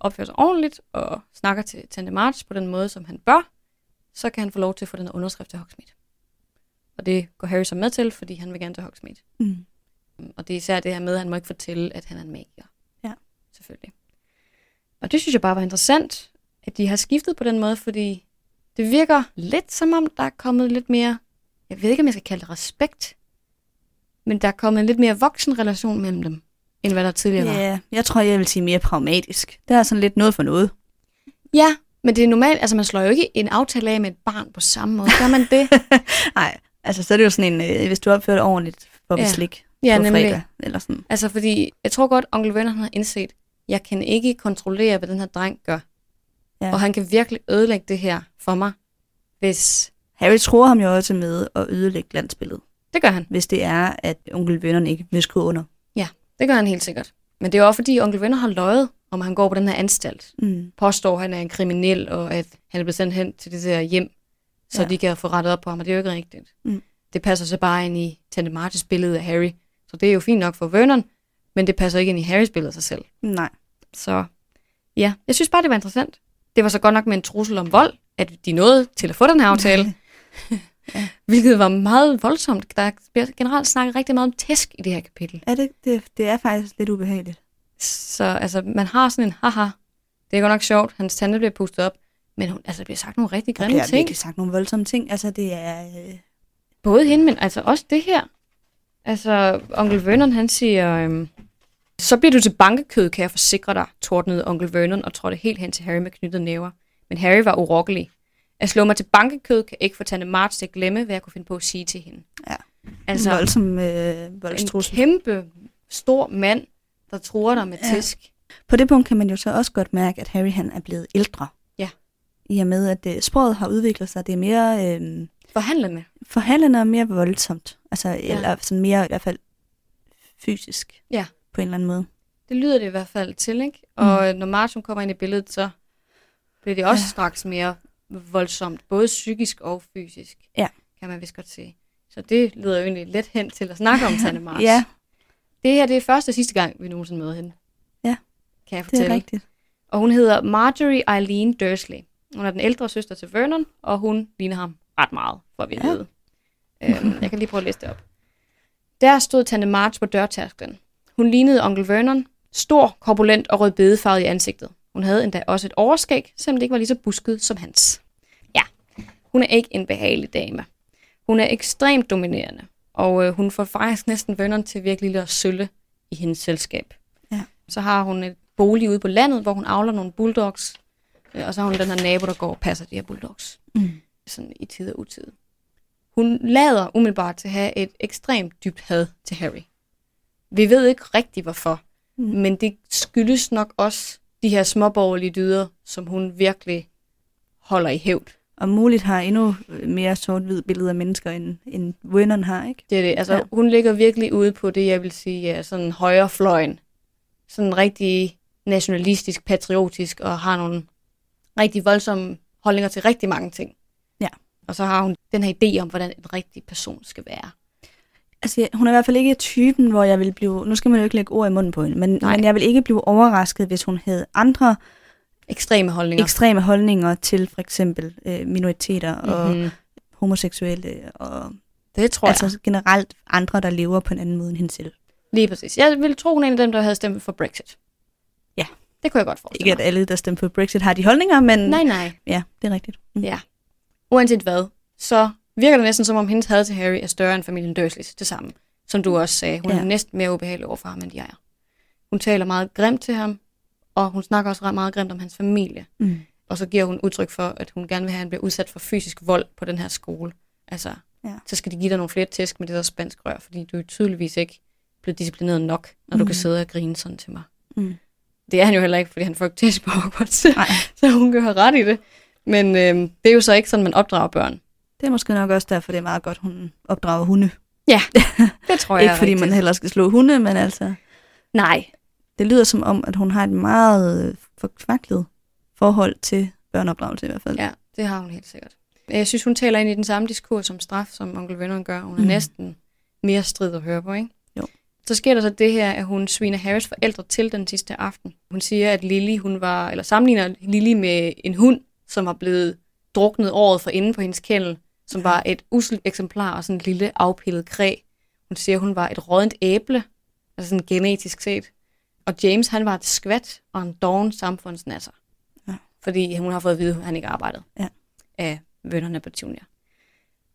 Speaker 1: opfører sig ordentligt og snakker til Tante March på den måde, som han bør, så kan han få lov til at få den her underskrift til Hogsmeade. Og det går Harry så med til, fordi han vil gerne til Hogsmeade.
Speaker 2: Mm.
Speaker 1: Og det er især det her med, at han må ikke fortælle, at han er en magiker.
Speaker 2: Ja.
Speaker 1: Selvfølgelig. Og det synes jeg bare var interessant, at de har skiftet på den måde, fordi det virker lidt som om, der er kommet lidt mere, jeg ved ikke, om jeg skal kalde det respekt, men der er kommet en lidt mere voksen relation mellem dem, end hvad der tidligere var.
Speaker 2: Ja, jeg tror, jeg vil sige mere pragmatisk. Det er sådan lidt noget for noget.
Speaker 1: Ja, men det er normalt, altså man slår jo ikke en aftale af med et barn på samme måde. Gør man det?
Speaker 2: Nej, altså så er det jo sådan en, øh, hvis du opfører dig ordentligt, får vi
Speaker 1: Ja.
Speaker 2: slik
Speaker 1: Ja,
Speaker 2: på
Speaker 1: nemlig.
Speaker 2: fredag. Eller sådan.
Speaker 1: altså fordi, jeg tror godt, onkel Vernon har indset, jeg kan ikke kontrollere, hvad den her dreng gør.
Speaker 2: Ja.
Speaker 1: Ja. Og han kan virkelig ødelægge det her for mig, hvis...
Speaker 2: Harry tror ham jo også med at ødelægge landsbilledet,
Speaker 1: Det gør han.
Speaker 2: hvis det er, at onkel Vernon ikke vil skrive under.
Speaker 1: Det gør han helt sikkert. Men det er jo også, fordi onkel Vernon har løjet, om han går på den her anstalt.
Speaker 2: Mm.
Speaker 1: Påstår, at han er en kriminel, og at han er blevet sendt hen til det der hjem, så
Speaker 2: Ja.
Speaker 1: ja. de kan få rettet op på ham, og det er jo ikke rigtigt.
Speaker 2: Mm.
Speaker 1: Det passer så bare ind i Tante Martes billede af Harry. Så det er jo fint nok for Vernon, men det passer ikke ind i Harrys billede af sig selv.
Speaker 2: Nej.
Speaker 1: Så ja, jeg synes bare, det var interessant. Det var så godt nok med en trussel om vold, at de nåede til at få den her aftale. Hvilket var meget voldsomt. Der bliver generelt snakket rigtig meget om tæsk i det her kapitel.
Speaker 2: Er det, det, det er faktisk lidt ubehageligt.
Speaker 1: Så altså, man har sådan en haha. Det er godt nok sjovt. Hans tante bliver pustet op. Men hun, altså, der bliver sagt nogle rigtig
Speaker 2: Der
Speaker 1: grimme
Speaker 2: bliver
Speaker 1: ting.
Speaker 2: virkelig sagt nogle voldsomme ting. Altså det er... Øh,
Speaker 1: Både hende, men altså også det her. Altså, onkel Vernon, han siger, øhm, så bliver du til bankekød, kan jeg forsikre dig, tordnede onkel Vernon og trådte helt hen til Harry med knyttede næver. Men Harry var urokkelig. At slå mig til bankekød kan ikke få Tante March til at glemme, hvad jeg kunne finde på at sige til hende.
Speaker 2: Ja.
Speaker 1: Altså,
Speaker 2: altså, en voldsom øh, voldstrussel.
Speaker 1: en kæmpe, stor mand, der tror dig med
Speaker 2: Ja.
Speaker 1: tæsk.
Speaker 2: På det punkt kan man jo så også godt mærke, at Harry han er blevet ældre.
Speaker 1: Ja.
Speaker 2: I og med, at øh, sproget har udviklet sig. Det er mere øh,
Speaker 1: Forhandle med.
Speaker 2: forhandlende og mere voldsomt. Altså, ja. eller sådan mere i hvert fald fysisk.
Speaker 1: Ja.
Speaker 2: På en eller anden måde.
Speaker 1: Det lyder det i hvert fald til, ikke? Og mm. når Martin kommer ind i billedet, så bliver det også ja. straks mere voldsomt, både psykisk og fysisk,
Speaker 2: Ja.
Speaker 1: kan man vist godt se. Så det leder jo egentlig let hen til at snakke om Tanne Mars.
Speaker 2: Ja,
Speaker 1: Det her det er første og sidste gang, vi nogensinde møder hende.
Speaker 2: Ja.
Speaker 1: Kan jeg
Speaker 2: det
Speaker 1: fortælle.
Speaker 2: er rigtigt.
Speaker 1: Og hun hedder Marjorie Eileen Dursley. Hun er den ældre søster til Vernon, og hun ligner ham ret meget, for vi
Speaker 2: Ja.
Speaker 1: ja. ved. Øhm, jeg kan lige prøve at læse det op. Der stod Tante March på dørtærsklen. Hun lignede onkel Vernon, stor, korpulent og rødbedefarvet i ansigtet. Hun havde endda også et overskæg, selvom det ikke var lige så busket som hans. Ja, hun er ikke en behagelig dame. Hun er ekstremt dominerende, og øh, hun får faktisk næsten Vernon til virkelig at sølle i hendes selskab.
Speaker 2: Ja.
Speaker 1: Så har hun et bolig ude på landet, hvor hun avler nogle bulldogs, øh, og så har hun den her nabo, der går og passer de her bulldogs.
Speaker 2: Mm.
Speaker 1: Sådan i tid og utid. Hun lader umiddelbart til at have et ekstremt dybt had til Harry. Vi ved ikke rigtigt, hvorfor,
Speaker 2: Mm.
Speaker 1: mm. men det skyldes nok også de her småborgerlige dyder, som hun virkelig holder i hævd.
Speaker 2: Og muligt har endnu mere sort-hvid billeder af mennesker, end, end Vernon har, ikke?
Speaker 1: Det er det. Altså,
Speaker 2: Ja.
Speaker 1: ja. hun ligger virkelig ude på det, jeg vil sige, er sådan højrefløjen. Sådan rigtig nationalistisk, patriotisk, og har nogle rigtig voldsomme holdninger til rigtig mange ting.
Speaker 2: Ja.
Speaker 1: Og så har hun den her idé om, hvordan en rigtig person skal være.
Speaker 2: Altså, jeg- hun er i hvert fald ikke typen, hvor jeg vil blive... Nu skal man jo ikke lægge ord i munden på hende, men,
Speaker 1: Nej.
Speaker 2: men jeg vil ikke blive overrasket, hvis hun havde andre
Speaker 1: Ekstreme holdninger.
Speaker 2: ekstreme holdninger til for eksempel øh, minoriteter og
Speaker 1: Mhm.
Speaker 2: homoseksuelle og
Speaker 1: Det tror altså, jeg.
Speaker 2: altså generelt andre, der lever på en anden måde end hende selv.
Speaker 1: Lige præcis. Jeg ville tro, hun er en af dem, der havde stemt for Brexit.
Speaker 2: Ja.
Speaker 1: Det kunne jeg godt
Speaker 2: Ikke
Speaker 1: forestille
Speaker 2: at alle, der stemte på Brexit, har de holdninger, men
Speaker 1: mig. Nej, nej.
Speaker 2: ja, det er rigtigt. Mm.
Speaker 1: Ja. Uanset hvad, så virker det næsten som om hendes had til Harry er større end familien Dursleys til sammen. Som du også sagde, hun ja.
Speaker 2: Ja.
Speaker 1: er næsten mere ubehagelig over for ham, end de er. Hun taler meget grimt til ham, og hun snakker også ret meget grimt om hans familie.
Speaker 2: Mm.
Speaker 1: Og så giver hun udtryk for, at hun gerne vil have, at han bliver udsat for fysisk vold på den her skole. Altså,
Speaker 2: Ja.
Speaker 1: så skal de give dig nogle flere tæsk med det der spansk rør, fordi du er tydeligvis ikke blev disciplineret nok, når mm. du
Speaker 2: Mm.
Speaker 1: kan sidde og grine sådan til mig.
Speaker 2: Mm.
Speaker 1: Det er han jo heller ikke, fordi han får ikke tæs på Hogwarts,
Speaker 2: Nej.
Speaker 1: så hun kan have ret i det. Men øhm, det er jo så ikke sådan, man opdrager børn.
Speaker 2: Det er måske nok også derfor, det er meget godt, hun opdrager hunde.
Speaker 1: Det tror jeg
Speaker 2: Ikke
Speaker 1: er
Speaker 2: fordi man
Speaker 1: rigtigt.
Speaker 2: heller skal slå hunde, men altså,
Speaker 1: Nej,
Speaker 2: det lyder som om, at hun har et meget øh, forkvaklet forhold til børneopdragelse i hvert fald.
Speaker 1: Ja, det har hun helt sikkert. Jeg synes, hun taler ind i den samme diskurs om straf, som onkel Vernon gør. Hun er mm.
Speaker 2: Mhm.
Speaker 1: næsten mere strid at høre på, ikke?
Speaker 2: Jo.
Speaker 1: Så sker der så det her, at hun sviner Harrys forældre til den sidste aften. Hun siger, at Lily, hun var, eller sammenligner Lily med en hund, som var blevet druknet året for inde på hendes kennel, som var et uselt eksemplar og sådan en lille afpillet kræ. Hun siger, hun var et rådent æble, altså sådan genetisk set. Og James, han var et skvat og en doven samfundsnasser.
Speaker 2: Ja.
Speaker 1: Fordi hun har fået at vide, at han ikke arbejdede
Speaker 2: Ja.
Speaker 1: af vennerne på Junior.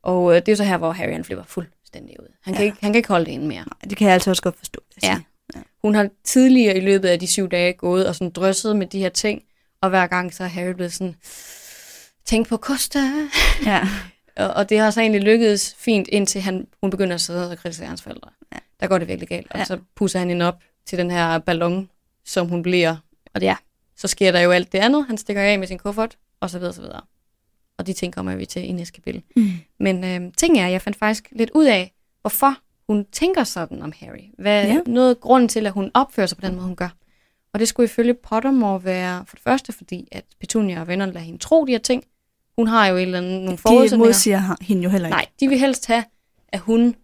Speaker 1: Og øh, det er jo så her, hvor Harry han flipper fuldstændig ud. Han kan,
Speaker 2: Ja.
Speaker 1: ikke, han kan ikke holde det inde mere.
Speaker 2: Det kan jeg altså også godt forstå. vil jeg
Speaker 1: Ja.
Speaker 2: sige.
Speaker 1: Hun har tidligere i løbet af de syv dage gået og sådan drysset med de her ting, og hver gang så er Harry blevet sådan, tænk på Costa.
Speaker 2: ja.
Speaker 1: Og, og det har så egentlig lykkedes fint, indtil han, hun begynder at sidde og kritisere hans forældre. Ja. Der går det virkelig galt. Og ja.
Speaker 2: Ja.
Speaker 1: så pusser han hende op til den her ballon, som hun bliver. Og ja, så sker der jo alt det andet. Han stikker af med sin kuffert, og så videre, så videre. Og de ting kommer vi til i næste kapitel.
Speaker 2: Mm.
Speaker 1: Men øh, ting er, jeg fandt faktisk lidt ud af, hvorfor hun tænker sådan om Harry. Hvad ja.
Speaker 2: Ja.
Speaker 1: noget grund til, at hun opfører sig på den måde, hun gør. Og det skulle ifølge Pottermore være for det første, fordi at Petunia og vennerne lader hende tro de her ting. Hun har jo et eller andet, nogle
Speaker 2: De
Speaker 1: forudsætninger.
Speaker 2: modsiger ha- hende jo heller ikke.
Speaker 1: Nej, de vil helst have, at hun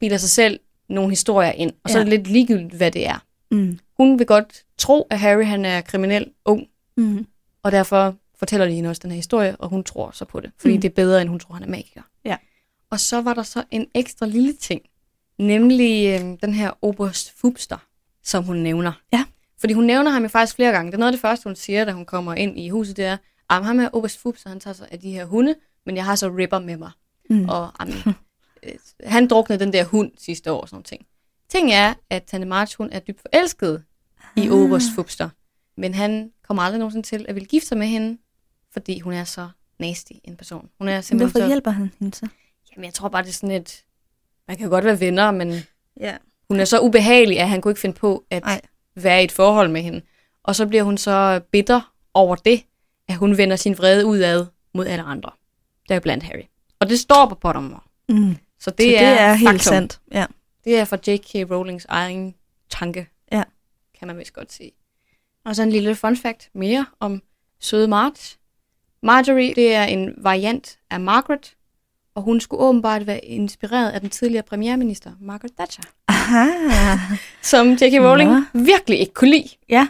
Speaker 1: bilder sig selv nogle historier ind. Og så er det lidt ligegyldigt, hvad det er.
Speaker 2: Mm.
Speaker 1: Hun vil godt tro, at Harry han er kriminel ung,
Speaker 2: Mm.
Speaker 1: og derfor fortæller de hende også den her historie, og hun tror så på det. Fordi mm.
Speaker 2: Mm.
Speaker 1: det er bedre, end hun tror, han er magiker.
Speaker 2: Ja.
Speaker 1: Og så var der så en ekstra lille ting, nemlig øh, den her Oberst Fubster, som hun nævner.
Speaker 2: Ja.
Speaker 1: Fordi hun nævner ham jo faktisk flere gange. Det er noget af det første, hun siger, da hun kommer ind i huset, det er, at ham her Oberst Fubster, han tager sig af de her hunde, men jeg har så Ripper med mig.
Speaker 2: Mm.
Speaker 1: Og jamen, øh, han druknede den der hund sidste år og sådan nogle ting. Ting er, at Tante March, hun er dybt forelsket
Speaker 2: Ah.
Speaker 1: i Oberst Fubster. Men han kommer aldrig nogensinde til at ville gifte sig med hende, fordi hun er så nasty en person. Hun er simpelthen
Speaker 2: Hvorfor
Speaker 1: så...
Speaker 2: hjælper han hende så?
Speaker 1: Jamen, jeg tror bare, det er sådan et... Man kan jo godt være venner, men
Speaker 2: Ja.
Speaker 1: hun er så ubehagelig, at han kunne ikke finde på at
Speaker 2: Nej.
Speaker 1: være i et forhold med hende. Og så bliver hun så bitter over det, at hun vender sin vrede udad mod alle andre. Der er blandt Harry. Og det står på Pottermore.
Speaker 2: Mm.
Speaker 1: Så det,
Speaker 2: Det, så det er, er helt
Speaker 1: faktum.
Speaker 2: sandt. Ja.
Speaker 1: Det er fra J.K. Rowlings egen tanke,
Speaker 2: Ja.
Speaker 1: kan man vist godt sige. Og så en lille fun fact mere om søde Marge. Marjorie, det er en variant af Margaret, og hun skulle åbenbart være inspireret af den tidligere premierminister, Margaret Thatcher,
Speaker 2: Aha.
Speaker 1: som J.K. Rowling
Speaker 2: Nå.
Speaker 1: virkelig ikke kunne lide.
Speaker 2: Ja.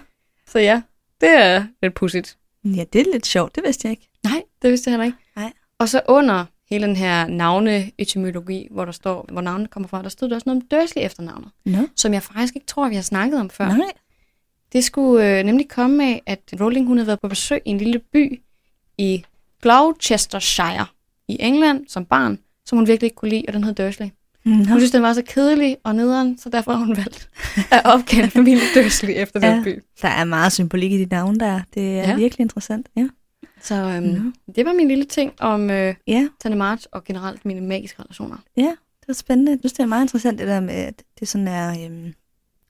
Speaker 1: Så ja, det er lidt pudsigt.
Speaker 2: ja, det er lidt sjovt. Det vidste jeg ikke.
Speaker 1: Nej, det vidste jeg heller ikke.
Speaker 2: Nej.
Speaker 1: Og så under hele den her navneetymologi, hvor der står, hvor navnet kommer fra, der stod der også noget om Dursley efternavnet,
Speaker 2: Nå.
Speaker 1: som jeg faktisk ikke tror, vi har snakket om før.
Speaker 2: Nej.
Speaker 1: Det skulle øh, nemlig komme af, at Rowling hun havde været på besøg i en lille by i Gloucestershire i England som barn, som hun virkelig ikke kunne lide, og den hed Dursley.
Speaker 2: Nå.
Speaker 1: Hun synes, den var så kedelig og nederen, så derfor har hun valgt at opkalde familien Dursley efter den
Speaker 2: Ja.
Speaker 1: by.
Speaker 2: Der er meget symbolik i de navne, der er. Det er
Speaker 1: Ja.
Speaker 2: ja. virkelig interessant. Ja.
Speaker 1: Så øhm, det var min lille ting om øh,
Speaker 2: ja,
Speaker 1: Tante March og generelt mine magiske relationer.
Speaker 2: det var spændende. Jeg synes, det er meget interessant, det der med, at det sådan er øhm,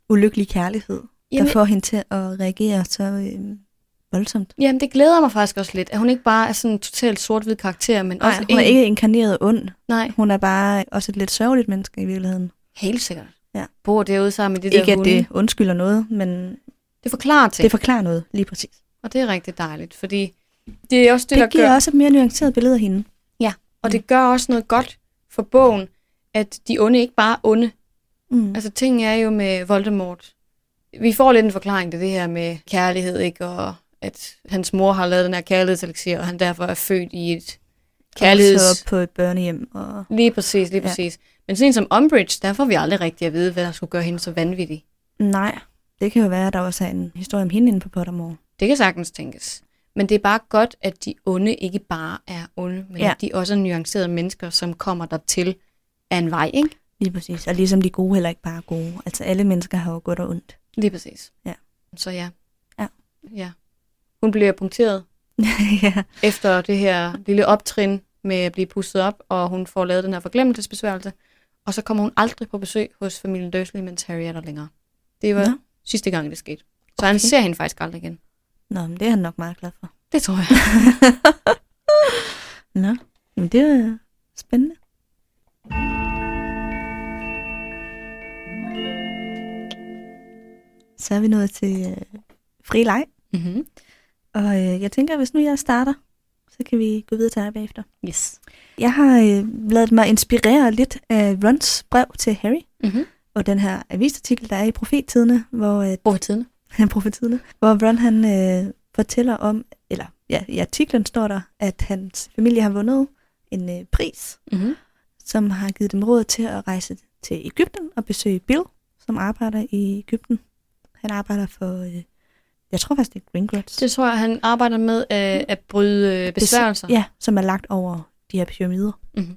Speaker 2: ulykkelig kærlighed,
Speaker 1: Jamen-
Speaker 2: der får hende til at reagere så øhm, voldsomt.
Speaker 1: Jamen, det glæder mig faktisk også lidt, at hun ikke bare er sådan en totalt sort-hvid karakter, men
Speaker 2: Nej,
Speaker 1: også
Speaker 2: hun er
Speaker 1: en...
Speaker 2: ikke inkarneret ond.
Speaker 1: Nej,
Speaker 2: Hun er bare også et lidt sørgeligt menneske i virkeligheden.
Speaker 1: helt sikkert.
Speaker 2: Ja.
Speaker 1: Bor derude sammen med de
Speaker 2: Det
Speaker 1: der
Speaker 2: ikke, at
Speaker 1: hunde.
Speaker 2: det undskylder noget, men det,
Speaker 1: det forklarer ting.
Speaker 2: det forklarer noget, lige præcis.
Speaker 1: Og det er rigtig dejligt, fordi det er også det,
Speaker 2: Det,
Speaker 1: det der
Speaker 2: det giver
Speaker 1: gør,
Speaker 2: også et mere nuanceret billede af hende.
Speaker 1: og det gør også noget godt for bogen, at de onde ikke bare er onde.
Speaker 2: Mm.
Speaker 1: Altså, ting er jo med Voldemort. Vi får lidt en forklaring til det her med kærlighed, ikke? Og at hans mor har lavet den her kærlighedseliksir, og han derfor er født i et kærligheds...
Speaker 2: Vokset op på et børnehjem. Og...
Speaker 1: Lige præcis, lige
Speaker 2: Ja.
Speaker 1: præcis. Men sådan en som Umbridge, der får vi aldrig rigtig at vide, hvad der skulle gøre hende så vanvittig.
Speaker 2: Nej, det kan jo være, at der også er en historie om hende inde på Pottermore.
Speaker 1: Det kan sagtens tænkes. Men det er bare godt, at de onde ikke bare er onde, men ja.
Speaker 2: Ja.
Speaker 1: at de også er nuancerede mennesker, som kommer dertil af en vej, ikke?
Speaker 2: Lige præcis. Og ligesom de gode heller ikke bare er gode. Altså alle mennesker har jo godt og ondt.
Speaker 1: Lige præcis.
Speaker 2: Ja.
Speaker 1: Så ja.
Speaker 2: Ja.
Speaker 1: ja. Hun bliver punkteret
Speaker 2: ja.
Speaker 1: efter det her lille optrin med at blive pustet op, og hun får lavet den her forglemmelsesbesværgelse. Og så kommer hun aldrig på besøg hos familien Dursley, mens Harry er der længere. Det var
Speaker 2: Nå.
Speaker 1: ja. sidste gang, det skete. Så okay. han
Speaker 2: Okay.
Speaker 1: ser hende faktisk aldrig igen.
Speaker 2: Nå, men det er han nok meget glad for.
Speaker 1: Det tror jeg.
Speaker 2: Nå, men det er spændende. Så er vi nået til øh, fri leg,
Speaker 1: mm-hmm.
Speaker 2: og øh, jeg tænker, hvis nu jeg starter, så kan vi gå videre til dig bagefter.
Speaker 1: Yes.
Speaker 2: Jeg har øh, lavet mig inspirere lidt af Rons brev til Harry,
Speaker 1: Mm-hmm.
Speaker 2: og den her avisartikel, der er i Profettidene, hvor øh,
Speaker 1: Brug tiden.
Speaker 2: han profetiderne, hvor Ron han øh, fortæller om, eller ja, i artiklen står der, at hans familie har vundet en øh, pris,
Speaker 1: Mm-hmm.
Speaker 2: som har givet dem råd til at rejse til Ægypten og besøge Bill, som arbejder i Ægypten. Han arbejder for, øh, jeg tror faktisk det er Gringotts.
Speaker 1: Det tror jeg, han arbejder med øh, at bryde øh, besværgelser.
Speaker 2: Ja, som er lagt over de her pyramider.
Speaker 1: Mhm.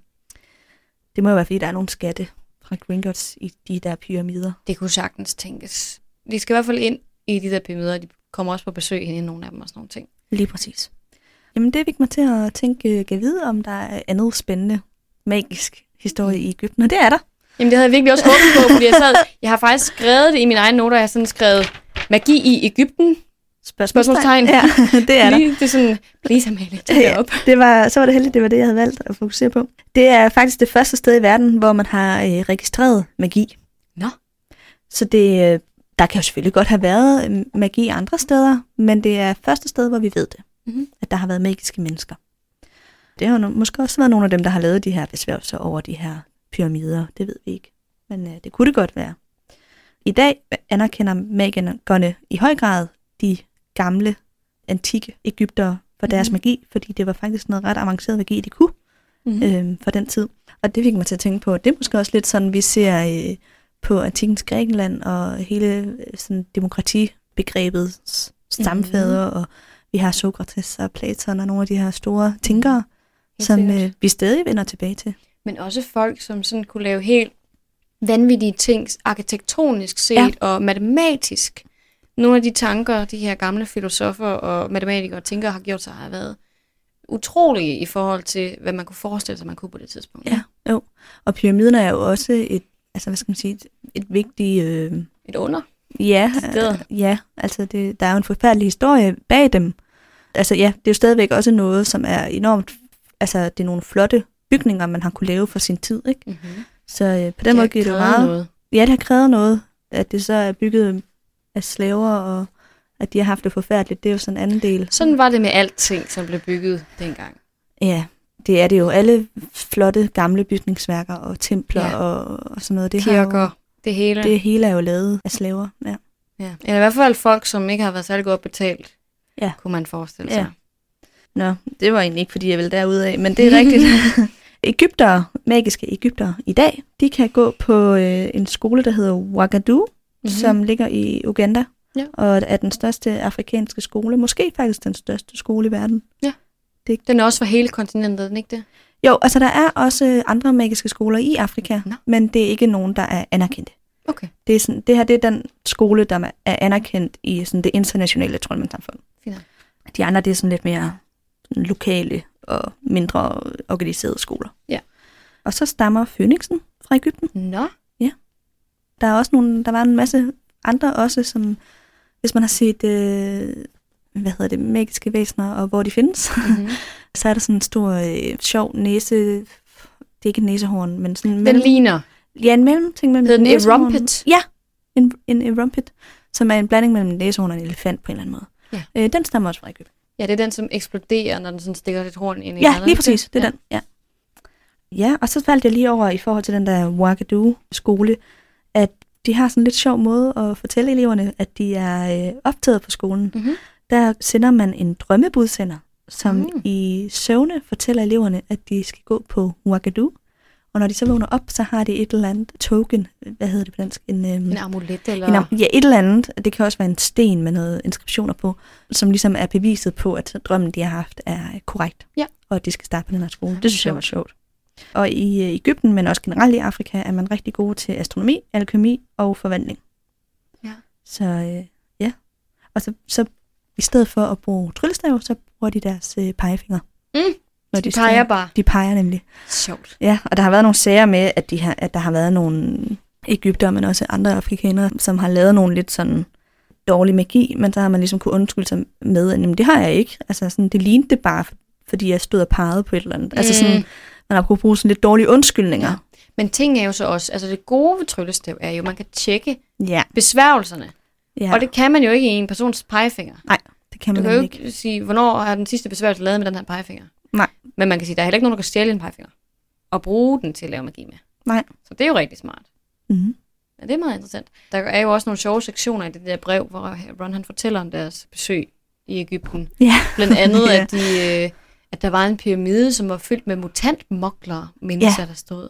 Speaker 2: Det må jo være, fordi der er nogle skatte fra Gringotts i de der pyramider.
Speaker 1: Det kunne sagtens tænkes. De skal i hvert fald ind i de der pyramider. De kommer også på besøg ind i nogle af dem og sådan nogle ting.
Speaker 2: Lige præcis. Jamen det fik mig til at tænke, øh, kan vide, om der er andet spændende, magisk historie i Ægypten, og det er der.
Speaker 1: Jamen, det havde jeg virkelig også håbet på, fordi jeg, sad, jeg har faktisk skrevet det i mine egne noter. Jeg har sådan skrevet, magi i Ægypten. Spørgsmålstegn.
Speaker 2: Ja, det er der.
Speaker 1: Lige, det er sådan, please Amalie, tag det
Speaker 2: Ja,
Speaker 1: op.
Speaker 2: det var, så var det heldigt, det var det, jeg havde valgt at fokusere på. Det er faktisk det første sted i verden, hvor man har øh, registreret magi.
Speaker 1: Nå.
Speaker 2: Så det, øh, der kan jo selvfølgelig godt have været øh, magi andre steder, men det er første sted, hvor vi ved det.
Speaker 1: Mhm.
Speaker 2: At der har været magiske mennesker. Det har jo no- måske også været nogle af dem, der har lavet de her besværgelser over de her pyramider. Det ved vi ikke. Men øh, det kunne det godt være. I dag anerkender magikerne i høj grad de gamle, antikke Ægyptere for deres
Speaker 1: Mhm.
Speaker 2: magi, fordi det var faktisk noget ret avanceret magi, de kunne
Speaker 1: Mm-hmm.
Speaker 2: øh, for den tid. Og det fik mig til at tænke på, at det er måske også lidt sådan, vi ser øh, på antikkens Grækenland og hele øh, sådan, demokratibegrebets stamfædre, mm-hmm. og vi har Sokrates og Platon og nogle af de her store tænkere, som øh, vi stadig vender tilbage til.
Speaker 1: Men også folk, som sådan kunne lave helt vanvittige ting, arkitektonisk set
Speaker 2: Ja.
Speaker 1: ja. og matematisk. Nogle af de tanker, de her gamle filosofer og matematikere og tænkere har gjort sig, har været utrolige i forhold til, hvad man kunne forestille sig, man kunne på det tidspunkt.
Speaker 2: Ja. Jo. Og pyramiden er jo også et, altså hvad skal man sige, et, et vigtigt... Øh,
Speaker 1: Et under.
Speaker 2: Ja,
Speaker 1: Decideret.
Speaker 2: øh, ja altså det, der er jo en forfærdelig historie bag dem. Altså ja, det er jo stadigvæk også noget, som er enormt, altså det er nogle flotte bygninger, man har kunne lave for sin tid, ikke?
Speaker 1: Mm-hmm.
Speaker 2: Så øh, på Mhm. den måde giver det jo meget.
Speaker 1: Noget.
Speaker 2: Ja, det har krævet noget, at det så er bygget af slaver, og at de har haft det forfærdeligt, det er jo sådan en anden del.
Speaker 1: Sådan var det med alting, som blev bygget dengang.
Speaker 2: Ja, det er det jo. Alle flotte gamle bygningsværker og templer
Speaker 1: Ja.
Speaker 2: ja. og, og sådan noget, det, har jo,
Speaker 1: Kirker, det hele.
Speaker 2: det hele er jo lavet af slaver. Ja.
Speaker 1: Ja. Eller i hvert fald folk, som ikke har været særlig godt betalt,
Speaker 2: Ja.
Speaker 1: kunne man forestille
Speaker 2: Ja.
Speaker 1: sig.
Speaker 2: Nå, det var egentlig ikke, fordi jeg ville derud af, men det er rigtigt. Ægyptere, magiske Ægyptere i dag, de kan gå på øh, en skole, der hedder Ouagadougou, mm-hmm. som ligger i Uganda,
Speaker 1: Mhm. Ja.
Speaker 2: og er den største afrikanske skole, måske faktisk den største skole i verden.
Speaker 1: Den er også for hele kontinentet, er den ikke det?
Speaker 2: Jo, altså der er også andre magiske skoler i Afrika,
Speaker 1: Nå.
Speaker 2: men det er ikke nogen, der er anerkendt.
Speaker 1: Okay,
Speaker 2: Det, er sådan, det her det er den skole, der er anerkendt i sådan det internationale troldmandssamfund.
Speaker 1: fint.
Speaker 2: De andre, det er sådan lidt mere sådan lokale og mindre organiserede skoler.
Speaker 1: Ja.
Speaker 2: Og så stammer Fønixen fra Ægypten.
Speaker 1: Nå,
Speaker 2: Der er også nogle, der var en masse andre også, som hvis man har set, øh, hvad hedder det, magiske væsener og hvor de findes,
Speaker 1: mm-hmm.
Speaker 2: så er der sådan en stor, øh, sjov næse, det er ikke et næsehorn, men sådan en
Speaker 1: den
Speaker 2: mellem,
Speaker 1: ligner.
Speaker 2: ja, en mellemting mellem
Speaker 1: Hedder den
Speaker 2: et næsehorn-
Speaker 1: erumpet?
Speaker 2: Ja, en, en erumpet, som er en blanding mellem en næsehorn og en elefant på en eller anden måde.
Speaker 1: Ja.
Speaker 2: Øh, den stammer også fra Ægypten.
Speaker 1: Ja, det er den, som eksploderer, når den sådan stikker sit horn ind i
Speaker 2: Ja,
Speaker 1: hjernen,
Speaker 2: lige
Speaker 1: ikke
Speaker 2: præcis. Det er
Speaker 1: ja.
Speaker 2: ja. den. Ja. ja, og så faldt jeg lige over i forhold til den der Ouagadougou-skole, at de har sådan en lidt sjov måde at fortælle eleverne, at de er øh, optaget på skolen.
Speaker 1: Mhm.
Speaker 2: Der sender man en drømmebudsender, som
Speaker 1: Mm.
Speaker 2: mm. i søvne fortæller eleverne, at de skal gå på Ouagadougou. Og når de så vågner op, så har de et eller andet token. Hvad hedder det på dansk? En, øhm,
Speaker 1: En amulet, eller...
Speaker 2: en, am- ja, et eller andet. Det kan også være en sten med noget inskriptioner på, som ligesom er beviset på, at drømmen, de har haft, er øh, korrekt.
Speaker 1: Ja.
Speaker 2: Og at de skal starte på den her skole. Det synes jeg var sjovt. Og i øh, Ægypten, men også generelt i Afrika, er man rigtig god til astronomi, alkemi og forvandling.
Speaker 1: Ja.
Speaker 2: Så øh, ja. Og så, så i stedet for at bruge tryllestav, så bruger de deres øh, pegefinger.
Speaker 1: Mm.
Speaker 2: Når
Speaker 1: De
Speaker 2: skal-
Speaker 1: peger bare.
Speaker 2: De peger nemlig.
Speaker 1: Sjovt.
Speaker 2: Ja, og der har været nogle sager med, at, de har, at der har været nogle Ægypter, men også andre afrikanere, som har lavet nogle lidt sådan dårlig magi, men der har man ligesom kunne undskylde sig med, at jamen, det har jeg ikke. Altså sådan, det lignede det bare, fordi jeg stod og pegede på et eller andet. Mm. Altså sådan, man har kunnet bruge sådan lidt dårlige undskyldninger.
Speaker 1: Men ting er jo så også, altså det gode ved tryllestav er jo, at man kan tjekke
Speaker 2: Ja.
Speaker 1: besværgelserne.
Speaker 2: ja.
Speaker 1: Ja. Og det kan man jo ikke i en persons pegefinger.
Speaker 2: det kan
Speaker 1: Du kan jo
Speaker 2: man nemlig ikke.
Speaker 1: ikke sige, hvornår har den sidste besværgelse lavet med den her pegefinger.
Speaker 2: Nej.
Speaker 1: Men man kan sige, der er heller ikke nogen, der kan stjæle en pegefinger og bruge den til at lave magi med.
Speaker 2: Nej.
Speaker 1: Så det er jo rigtig smart.
Speaker 2: Mm-hmm.
Speaker 1: Ja, det er meget interessant. Der er jo også nogle sjove sektioner i det der brev, hvor Ron han fortæller om deres besøg i Ægypten.
Speaker 2: Ja.
Speaker 1: Blandt andet,
Speaker 2: Ja.
Speaker 1: at, de, øh, at der var en pyramide, som var fyldt med mutantmoklere mennesker, ja. der stod.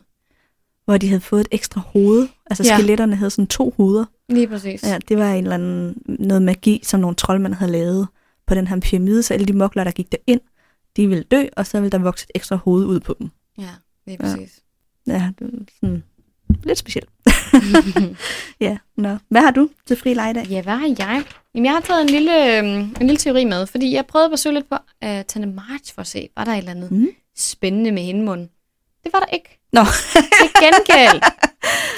Speaker 2: Hvor de havde fået et ekstra hoved. Altså
Speaker 1: Ja.
Speaker 2: ja. skeletterne havde sådan to hoveder.
Speaker 1: Lige præcis.
Speaker 2: Ja, det var en eller anden, noget magi, som nogle troldmænd havde lavet på den her pyramide, så alle de mokler, der gik derind, de ville dø, og så ville der vokse et ekstra hoved ud på dem.
Speaker 1: ja lige
Speaker 2: Ja.
Speaker 1: præcis.
Speaker 2: Ja, det var sådan lidt specielt. ja, nå. Hvad har du til fri leg i dag?
Speaker 1: Ja, hvad har jeg? Jamen, jeg har taget en lille, øhm, en lille teori med, fordi jeg prøvede at søge lidt på øh, Tante March for at se, var der et eller andet
Speaker 2: Mm.
Speaker 1: spændende med hendemunden. Det var der ikke.
Speaker 2: Nå.
Speaker 1: Til gengæld.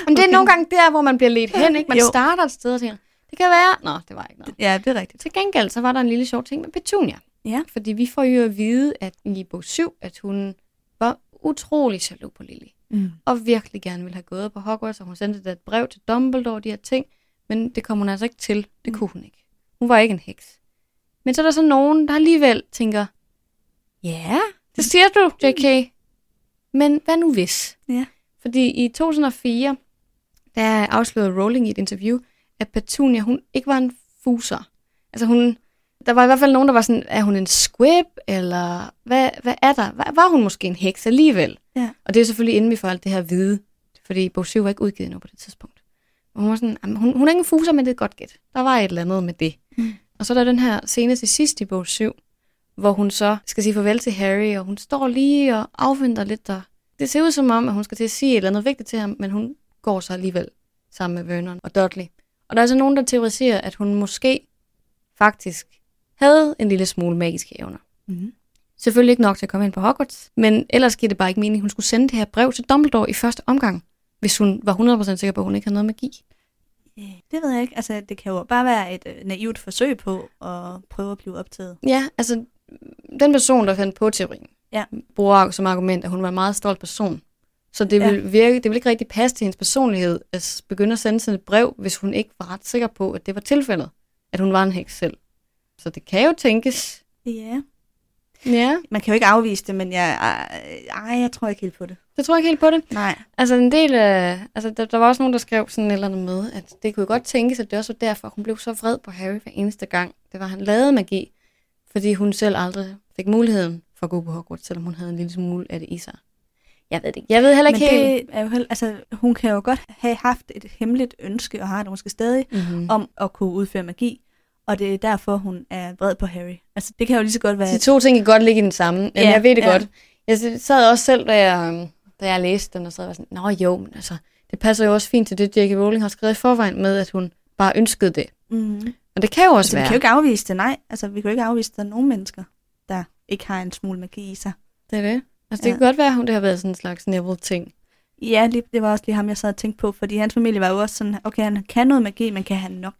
Speaker 1: Men det er
Speaker 2: Okay.
Speaker 1: nogle gange der, hvor man bliver ledt hen, ikke? Man jo.
Speaker 2: Jo.
Speaker 1: starter et sted og tænker, det kan være. Nå, det var ikke noget.
Speaker 2: Ja, det er rigtigt.
Speaker 1: Til gengæld, så var der en lille sjov ting med Petunia.
Speaker 2: Ja.
Speaker 1: Fordi vi får jo at vide, at i bog 7, at hun var utrolig jaloux på Lily.
Speaker 2: Mm.
Speaker 1: Og virkelig gerne ville have gået på Hogwarts, og hun sendte da et brev til Dumbledore og de her ting. Men det kom hun altså ikke til. Det kunne hun ikke. Hun var ikke en heks. Men så er der så nogen, der alligevel tænker, ja, det siger du, JK. Men hvad nu hvis?
Speaker 2: Ja.
Speaker 1: Fordi i 2004, der afslørede Rowling i et interview, at Petunia, hun ikke var en fuser. Altså hun, der var i hvert fald nogen, der var sådan, er hun en squib, eller hvad, hvad er der? Var, var hun måske en heks alligevel?
Speaker 2: Ja.
Speaker 1: Og det er selvfølgelig inden vi får alt det her vide, fordi bog 7 var ikke udgivet endnu på det tidspunkt. Og hun var sådan, "Jamen, hun, hun er ikke en fuser, men det er et godt gæt. Der var et eller andet med det.
Speaker 2: Mm.
Speaker 1: Og så er der den her scene til sidst i bog 7, hvor hun så skal sige farvel til Harry, og hun står lige og afventer lidt der. Det ser ud som om, at hun skal til at sige et eller andet vigtigt til ham, men hun går så alligevel sammen med Vernon og Dudley. Og der er så nogen, der teoriserer, at hun måske faktisk havde en lille smule magiske evner.
Speaker 2: Mm.
Speaker 1: Selvfølgelig ikke nok til at komme ind på Hogwarts, men ellers giver det bare ikke mening, at hun skulle sende det her brev til Dumbledore i første omgang, hvis hun var 100% sikker på, at hun ikke havde noget magi.
Speaker 2: Det ved jeg ikke. Altså, det kan jo bare være et øh, naivt forsøg på at prøve at blive optaget.
Speaker 1: Ja, altså, den person, der fandt på teorien,
Speaker 2: Ja.
Speaker 1: bruger som argument, at hun var en meget stolt person. Så det
Speaker 2: Ja.
Speaker 1: ville, virke, det ville ikke rigtig passe til hendes personlighed at s- begynde at sende sådan et brev, hvis hun ikke var ret sikker på, at det var tilfældet, at hun var en heks selv. Så det kan jo tænkes.
Speaker 2: Ja.
Speaker 1: Ja,
Speaker 2: Man kan jo ikke afvise det, men jeg, ej, jeg tror ikke helt på det.
Speaker 1: det tror jeg ikke helt på det.
Speaker 2: Nej.
Speaker 1: Altså en del af, altså der, der var også nogen, der skrev sådan et eller andet med, at det kunne jo godt tænkes, at det også var derfor, hun blev så vred på Harry hver eneste gang, det var, han lavede magi, fordi hun selv aldrig fik muligheden for at gå på Hogwarts, selvom hun havde en lille smule af det i sig. Jeg ved det ikke. Jeg ved heller
Speaker 2: Men
Speaker 1: ikke helt.
Speaker 2: det er jo heller, altså, hun kan jo godt have haft et hemmeligt ønske, og har det måske stadig,
Speaker 1: Mm-hmm.
Speaker 2: om at kunne udføre magi, og det er derfor, hun er vred på Harry. Altså, det kan jo lige så godt være...
Speaker 1: De to ting kan godt ligge i den samme. Jamen,
Speaker 2: Ja,
Speaker 1: jeg ved det
Speaker 2: ja.
Speaker 1: godt. Jeg sad også selv, da jeg, øhm, da jeg læste den, og sad og var sådan, Nå jo, men altså, det passer jo også fint til det, J.K. Rowling har skrevet i forvejen med, at hun bare ønskede det.
Speaker 2: Mm-hmm.
Speaker 1: Og det kan jo også
Speaker 2: Altså, vi
Speaker 1: være.
Speaker 2: kan jo ikke afvise det, nej. Altså, vi kan jo ikke afvise, at der er nogen mennesker, der ikke har en smule magi i sig.
Speaker 1: Det er det. Altså, det
Speaker 2: Ja.
Speaker 1: kan godt være, at hun- det har været sådan en slags Neville-ting.
Speaker 2: Ja, lige, det var også lige ham, jeg sad og tænkte på, fordi hans familie var jo også sådan, okay, han kan noget magi, men kan han nok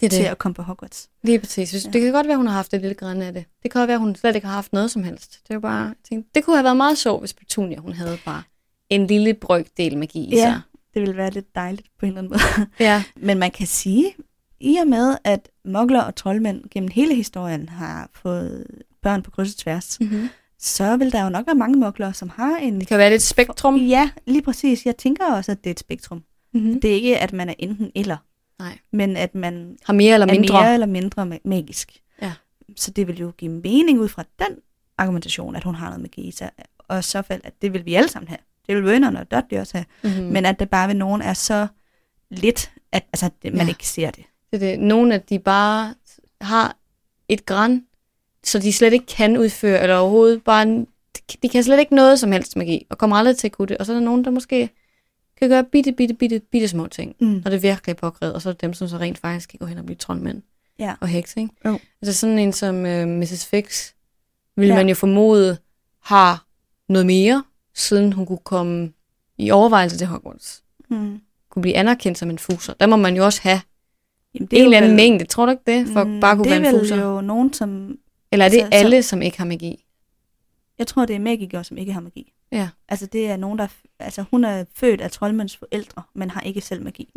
Speaker 1: Det
Speaker 2: til at komme på Hogwarts?
Speaker 1: Lige præcis. Hvis-
Speaker 2: Ja.
Speaker 1: Det kan godt være, hun har haft et lille græn af det. Det kan også være, hun slet ikke har haft noget som helst. Det, er jo bare, jeg tænkte, det kunne have været meget sjovt, hvis Petunia hun havde bare en lille brøkdel magi i
Speaker 2: Ja.
Speaker 1: sig.
Speaker 2: Det ville være lidt dejligt på en eller anden måde.
Speaker 1: Ja.
Speaker 2: men man kan sige, i og med, at mokler og troldmænd gennem hele historien har fået børn på kryds og tværs,
Speaker 1: Mm-hmm.
Speaker 2: så vil der jo nok være mange mokler, som har en
Speaker 1: Det kan jo være lidt spektrum.
Speaker 2: Ja, lige præcis. Jeg tænker også, at det er et spektrum.
Speaker 1: Mm-hmm.
Speaker 2: Det er ikke, at man er enten eller.
Speaker 1: Nej.
Speaker 2: Men at man
Speaker 1: Har mere eller
Speaker 2: er
Speaker 1: mindre.
Speaker 2: mere eller mindre ma- magisk.
Speaker 1: Ja.
Speaker 2: Så det vil jo give mening ud fra den argumentation, at hun har noget magi i sig. Og i så fald, at det vil vi alle sammen have. Det vil Vernon og Dudley også have.
Speaker 1: Mm-hmm.
Speaker 2: Mm. Men at det bare ved nogen er så lidt, at altså, det, man
Speaker 1: Ja.
Speaker 2: ja. ikke ser det.
Speaker 1: Det er det. Nogle af de bare har et græn, så de slet ikke kan udføre, eller overhovedet bare, en- de kan slet ikke noget som helst magi, og kommer aldrig til at kunne det. Og så er der nogen, der måske kan gøre bitte, bitte, bitte, bitte små ting,
Speaker 2: Mm.
Speaker 1: når det virkelig er påkrævet, og så er det dem, som så rent faktisk kan gå hen og blive troldmænd
Speaker 2: Ja.
Speaker 1: og heks, ikke?
Speaker 2: Jo.
Speaker 1: Altså sådan en som øh, Mrs. Fix, vil ja.
Speaker 2: Ja.
Speaker 1: man jo formode, har noget mere, siden hun kunne komme i overvejelse til Hogwarts.
Speaker 2: Mm.
Speaker 1: Kunne blive anerkendt som en fuser. Der må man jo også have
Speaker 2: Jamen,
Speaker 1: en eller anden mængde, tror du ikke det? For mm, bare at kunne
Speaker 2: det er
Speaker 1: være en
Speaker 2: vel
Speaker 1: fuser. Jo. Altså,
Speaker 2: jo nogen, som...
Speaker 1: Eller er det
Speaker 2: så- så-
Speaker 1: alle, som ikke har magi?
Speaker 2: Jeg tror, det er magikere, som ikke har magi.
Speaker 1: Ja.
Speaker 2: Altså, det er nogen, der... Altså, hun er født af troldmænds forældre, men har ikke selv magi.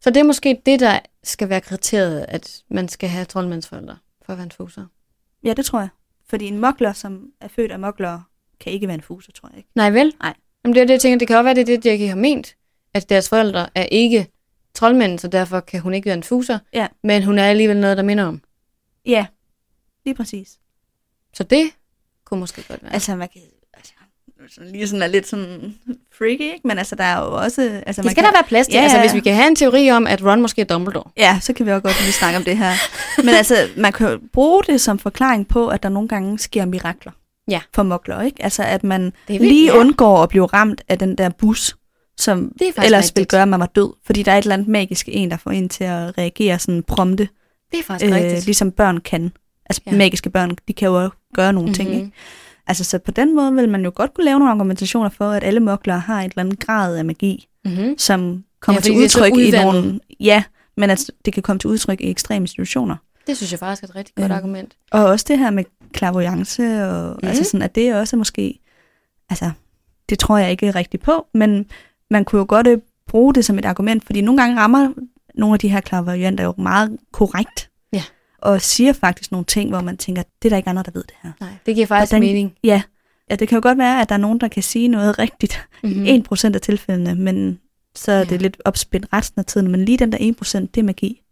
Speaker 1: Så det er måske det, der skal være kriteriet, at man skal have troldmandsforældre for at være en fuser.
Speaker 2: Ja, det tror jeg. Fordi en mokler, som er født af moklere, kan ikke være en fuser, tror jeg ikke.
Speaker 1: Nej vel?
Speaker 2: Nej.
Speaker 1: Jamen det er det, jeg tænker, det kan også være, det er det, Jackie har ment, at deres forældre er ikke troldmænd, så derfor kan hun ikke være en fuser,
Speaker 2: Ja.
Speaker 1: men hun er alligevel noget, der minder om.
Speaker 2: Ja, lige præcis.
Speaker 1: Så det kunne måske godt være.
Speaker 2: Altså, man kan... Altså, sådan lige sådan er lidt sådan freaky, ikke? Men altså, der er jo også... Altså,
Speaker 1: det skal der være plads til.
Speaker 2: Ja,
Speaker 1: Ja,
Speaker 2: ja,
Speaker 1: altså,
Speaker 2: ja.
Speaker 1: hvis vi kan have en teori om, at Ron måske er Dumbledore.
Speaker 2: Ja, så kan vi også godt lige snakke om det her. Men altså, man kan jo bruge det som forklaring på, at der nogle gange sker mirakler
Speaker 1: Ja.
Speaker 2: for mokler, ikke? Altså, at man
Speaker 1: Det er vildt,
Speaker 2: lige
Speaker 1: ja.
Speaker 2: undgår at blive ramt af den der bus, som
Speaker 1: Det er faktisk
Speaker 2: ellers
Speaker 1: rigtigt.
Speaker 2: ville gøre, at man var død. Fordi der er et eller andet magisk en, der får en til at reagere sådan prompte,
Speaker 1: Det er faktisk øh,
Speaker 2: øh,
Speaker 1: rigtigt.
Speaker 2: ligesom børn kan. Altså,
Speaker 1: Ja. Mhm.
Speaker 2: ja. magiske børn, de kan jo også gøre nogle mm-hmm. ting, ikke? Altså, så på den måde vil man jo godt kunne lave nogle argumentationer for, at alle moklere har et eller andet grad af magi,
Speaker 1: Mm-hmm.
Speaker 2: som kommer
Speaker 1: Ja,
Speaker 2: til
Speaker 1: fordi det er så
Speaker 2: udtryk i
Speaker 1: udvandet.
Speaker 2: nogle... Ja, men at det kan komme til udtryk i ekstreme situationer.
Speaker 1: Det synes jeg faktisk er et rigtig godt
Speaker 2: Øhm.
Speaker 1: argument.
Speaker 2: Og også det her med klavoyance, og
Speaker 1: Mhm.
Speaker 2: mm. altså sådan, at det også er måske... Altså, det tror jeg ikke rigtigt på, men man kunne jo godt øh, bruge det som et argument, fordi nogle gange rammer nogle af de her klavoyanter jo meget korrekt.
Speaker 1: Ja.
Speaker 2: Og siger faktisk nogle ting, hvor man tænker, det er der ikke andre, der ved det her.
Speaker 1: Nej, det giver faktisk
Speaker 2: Hvordan-
Speaker 1: mening.
Speaker 2: Ja, ja det kan jo godt være, at der er nogen, der kan sige noget rigtigt,
Speaker 1: Mm-hmm.
Speaker 2: 1% af tilfældene, men så er det
Speaker 1: Ja.
Speaker 2: lidt opspændt resten af tiden. Men lige den der 1%, det er magi.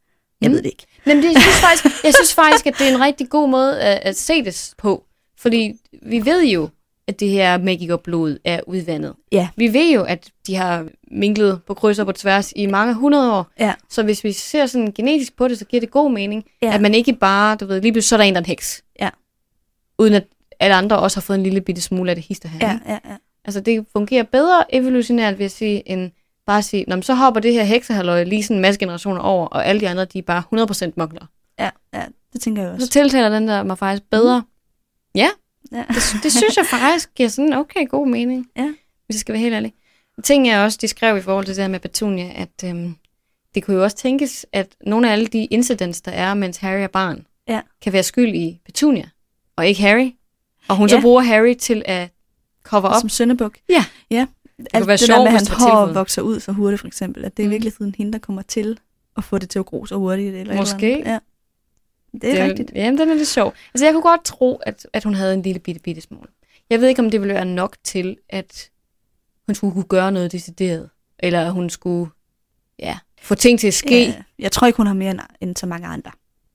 Speaker 2: Jeg
Speaker 1: Mm.
Speaker 2: ved det ikke.
Speaker 1: Men det, jeg, synes faktisk, jeg synes faktisk, at det er en rigtig god måde at, at se det på. Fordi vi ved jo, at det her magikerblodet er udvandet.
Speaker 2: Ja.
Speaker 1: Vi ved jo, at de har minklet på kryds og på tværs i mange hundrede år.
Speaker 2: Ja.
Speaker 1: Så hvis vi ser sådan genetisk på det, så giver det god mening,
Speaker 2: Ja.
Speaker 1: at man ikke bare, du ved, lige pludselig så er der en, der er en heks.
Speaker 2: Ja.
Speaker 1: Uden at alle andre også har fået en lille bitte smule af det hister her.
Speaker 2: Ja, ja, ja.
Speaker 1: Altså det fungerer bedre evolutionært, vil jeg sige, end bare at sige, Nå, men så hopper det her heksehalløj lige sådan en masse generationer over, og alle de andre, de er bare 100% mokler.
Speaker 2: ja, ja. Det tænker jeg
Speaker 1: Så
Speaker 2: også.
Speaker 1: tiltaler den der mig faktisk bedre. Mm-hmm. Ja,
Speaker 2: Ja.
Speaker 1: det, det synes jeg faktisk giver sådan okay god mening.
Speaker 2: Ja.
Speaker 1: Hvis jeg skal være helt ærlig. En ting jeg også, de skrev i forhold til det her med Petunia, at øhm, det kunne jo også tænkes, at nogle af alle de incidents, der er, mens Harry er barn,
Speaker 2: Ja.
Speaker 1: kan være skyld i Petunia, og ikke Harry. Og hun ja. så
Speaker 2: Ja.
Speaker 1: bruger Harry til at cover op.
Speaker 2: Som søndebuk.
Speaker 1: Ja.
Speaker 2: ja.
Speaker 1: kunne
Speaker 2: Alt
Speaker 1: være
Speaker 2: det der
Speaker 1: sjovt,
Speaker 2: med, at
Speaker 1: hvis
Speaker 2: hans
Speaker 1: det var
Speaker 2: hår
Speaker 1: tilfældet.
Speaker 2: vokser ud så hurtigt, for eksempel. At det er
Speaker 1: Mm.
Speaker 2: mm. virkelig siden hende, der kommer til at få det til at gro så hurtigt. Eller et
Speaker 1: Måske.
Speaker 2: Eller andet. ja. Det er rigtigt.
Speaker 1: Jamen, den er lidt sjov. Altså, jeg kunne godt tro, at, at hun havde en lille bitte, bitte smule. Jeg ved ikke, om det ville være nok til, at hun skulle kunne gøre noget decideret. Eller at hun skulle, ja, få ting til at ske. Ja.
Speaker 2: Ja. Jeg tror ikke, hun har mere end, end så mange andre.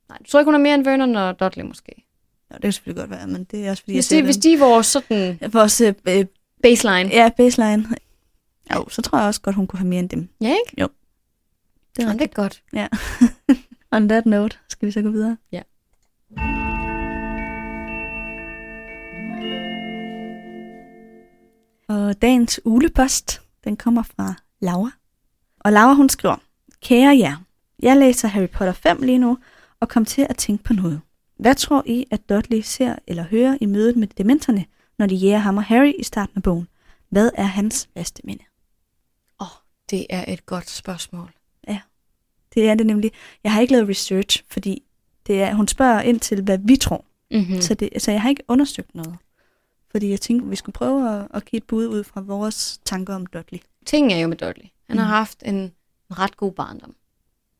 Speaker 1: Nej, du tror ikke, hun er mere end Vernon og Dudley måske?
Speaker 2: Nå, det kan selvfølgelig godt være, men det er også fordi,
Speaker 1: Hvis
Speaker 2: jeg
Speaker 1: de, hvis de er vores sådan
Speaker 2: de... Vores øh, øh,
Speaker 1: baseline.
Speaker 2: ja, baseline. Jo, så tror jeg også godt, hun kunne have mere end dem.
Speaker 1: Ja, ikke?
Speaker 2: Det er
Speaker 1: Jamen, det er godt.
Speaker 2: On that note, skal vi så gå videre?
Speaker 1: Ja.
Speaker 2: Og dagens ulepost, den kommer fra Laura. Og Laura hun skriver, Kære jer, jeg læser Harry Potter 5 lige nu, og kom til at tænke på noget. Hvad tror I, at Dudley ser eller hører i mødet med dementerne, når de jæger ham og Harry i starten af bogen? Hvad er hans værste minde?
Speaker 1: Det er et godt spørgsmål.
Speaker 2: Det er det nemlig. Jeg har ikke lavet research, fordi det er, hun spørger ind til, hvad vi tror.
Speaker 1: Mm-hmm.
Speaker 2: Mm. Så, det, så jeg har ikke undersøgt noget. Fordi jeg tænkte, vi skulle prøve at, at give et bud ud fra vores tanker om Dudley.
Speaker 1: Ting er jo med Dudley. Han har
Speaker 2: Mhm.
Speaker 1: haft en, en ret god barndom.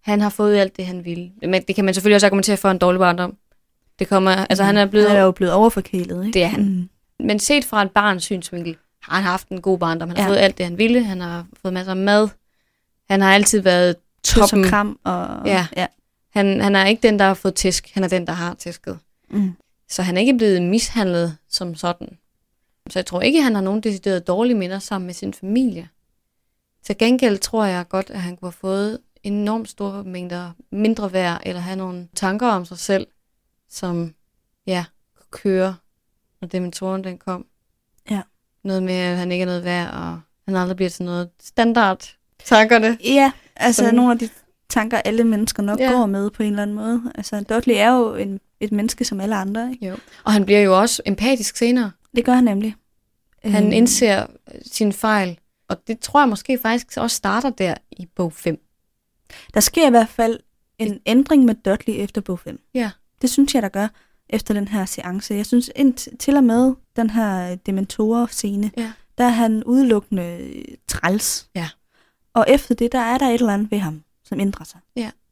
Speaker 1: Han har fået alt det, han ville. Men det kan man selvfølgelig også argumentere for en dårlig barndom. Det kommer, altså han er blevet
Speaker 2: han er jo blevet overforkælet, ikke?
Speaker 1: Det er han.
Speaker 2: Mm.
Speaker 1: Men set fra et barns synsvinkel, har han haft en god barndom. Han har ja.
Speaker 2: Ja.
Speaker 1: fået alt det, han ville. Han har fået masser af mad. Han har altid været
Speaker 2: Tøs og
Speaker 1: toppen.
Speaker 2: kram og...
Speaker 1: Ja.
Speaker 2: ja.
Speaker 1: Han, han er ikke den, der har fået tæsk. Han er den, der har tæsket.
Speaker 2: Mm.
Speaker 1: Så han er ikke blevet mishandlet som sådan. Så jeg tror ikke, han har nogen decideret dårlige minder sammen med sin familie. Til gengæld tror jeg godt, at han kunne have fået enormt store mængder mindre værd, eller have nogle tanker om sig selv, som ja, kunne køre, når dementoren den kom.
Speaker 2: Ja.
Speaker 1: Noget med, at han ikke er noget værd, og han aldrig bliver til noget standard. Tankerne.
Speaker 2: ja, altså
Speaker 1: Sådan.
Speaker 2: nogle af de tanker, alle mennesker nok
Speaker 1: Ja.
Speaker 2: ja. går med på en eller anden måde. Altså, Dudley er jo en, et menneske som alle andre, ikke?
Speaker 1: Jo. Og han bliver jo også empatisk senere.
Speaker 2: Det gør han nemlig.
Speaker 1: Han
Speaker 2: Øhm,
Speaker 1: indser øh, sin fejl, og det tror jeg måske faktisk også starter der i bog 5.
Speaker 2: Der sker i hvert fald en ændring med Dudley efter bog 5.
Speaker 1: Ja.
Speaker 2: Det synes jeg, der gør efter den her seance. Jeg synes ind til og med den her dementorer-scene,
Speaker 1: Ja.
Speaker 2: der er han udelukkende øh, træls.
Speaker 1: Ja.
Speaker 2: Og efter det, der er der et eller andet ved ham, som ændrer sig.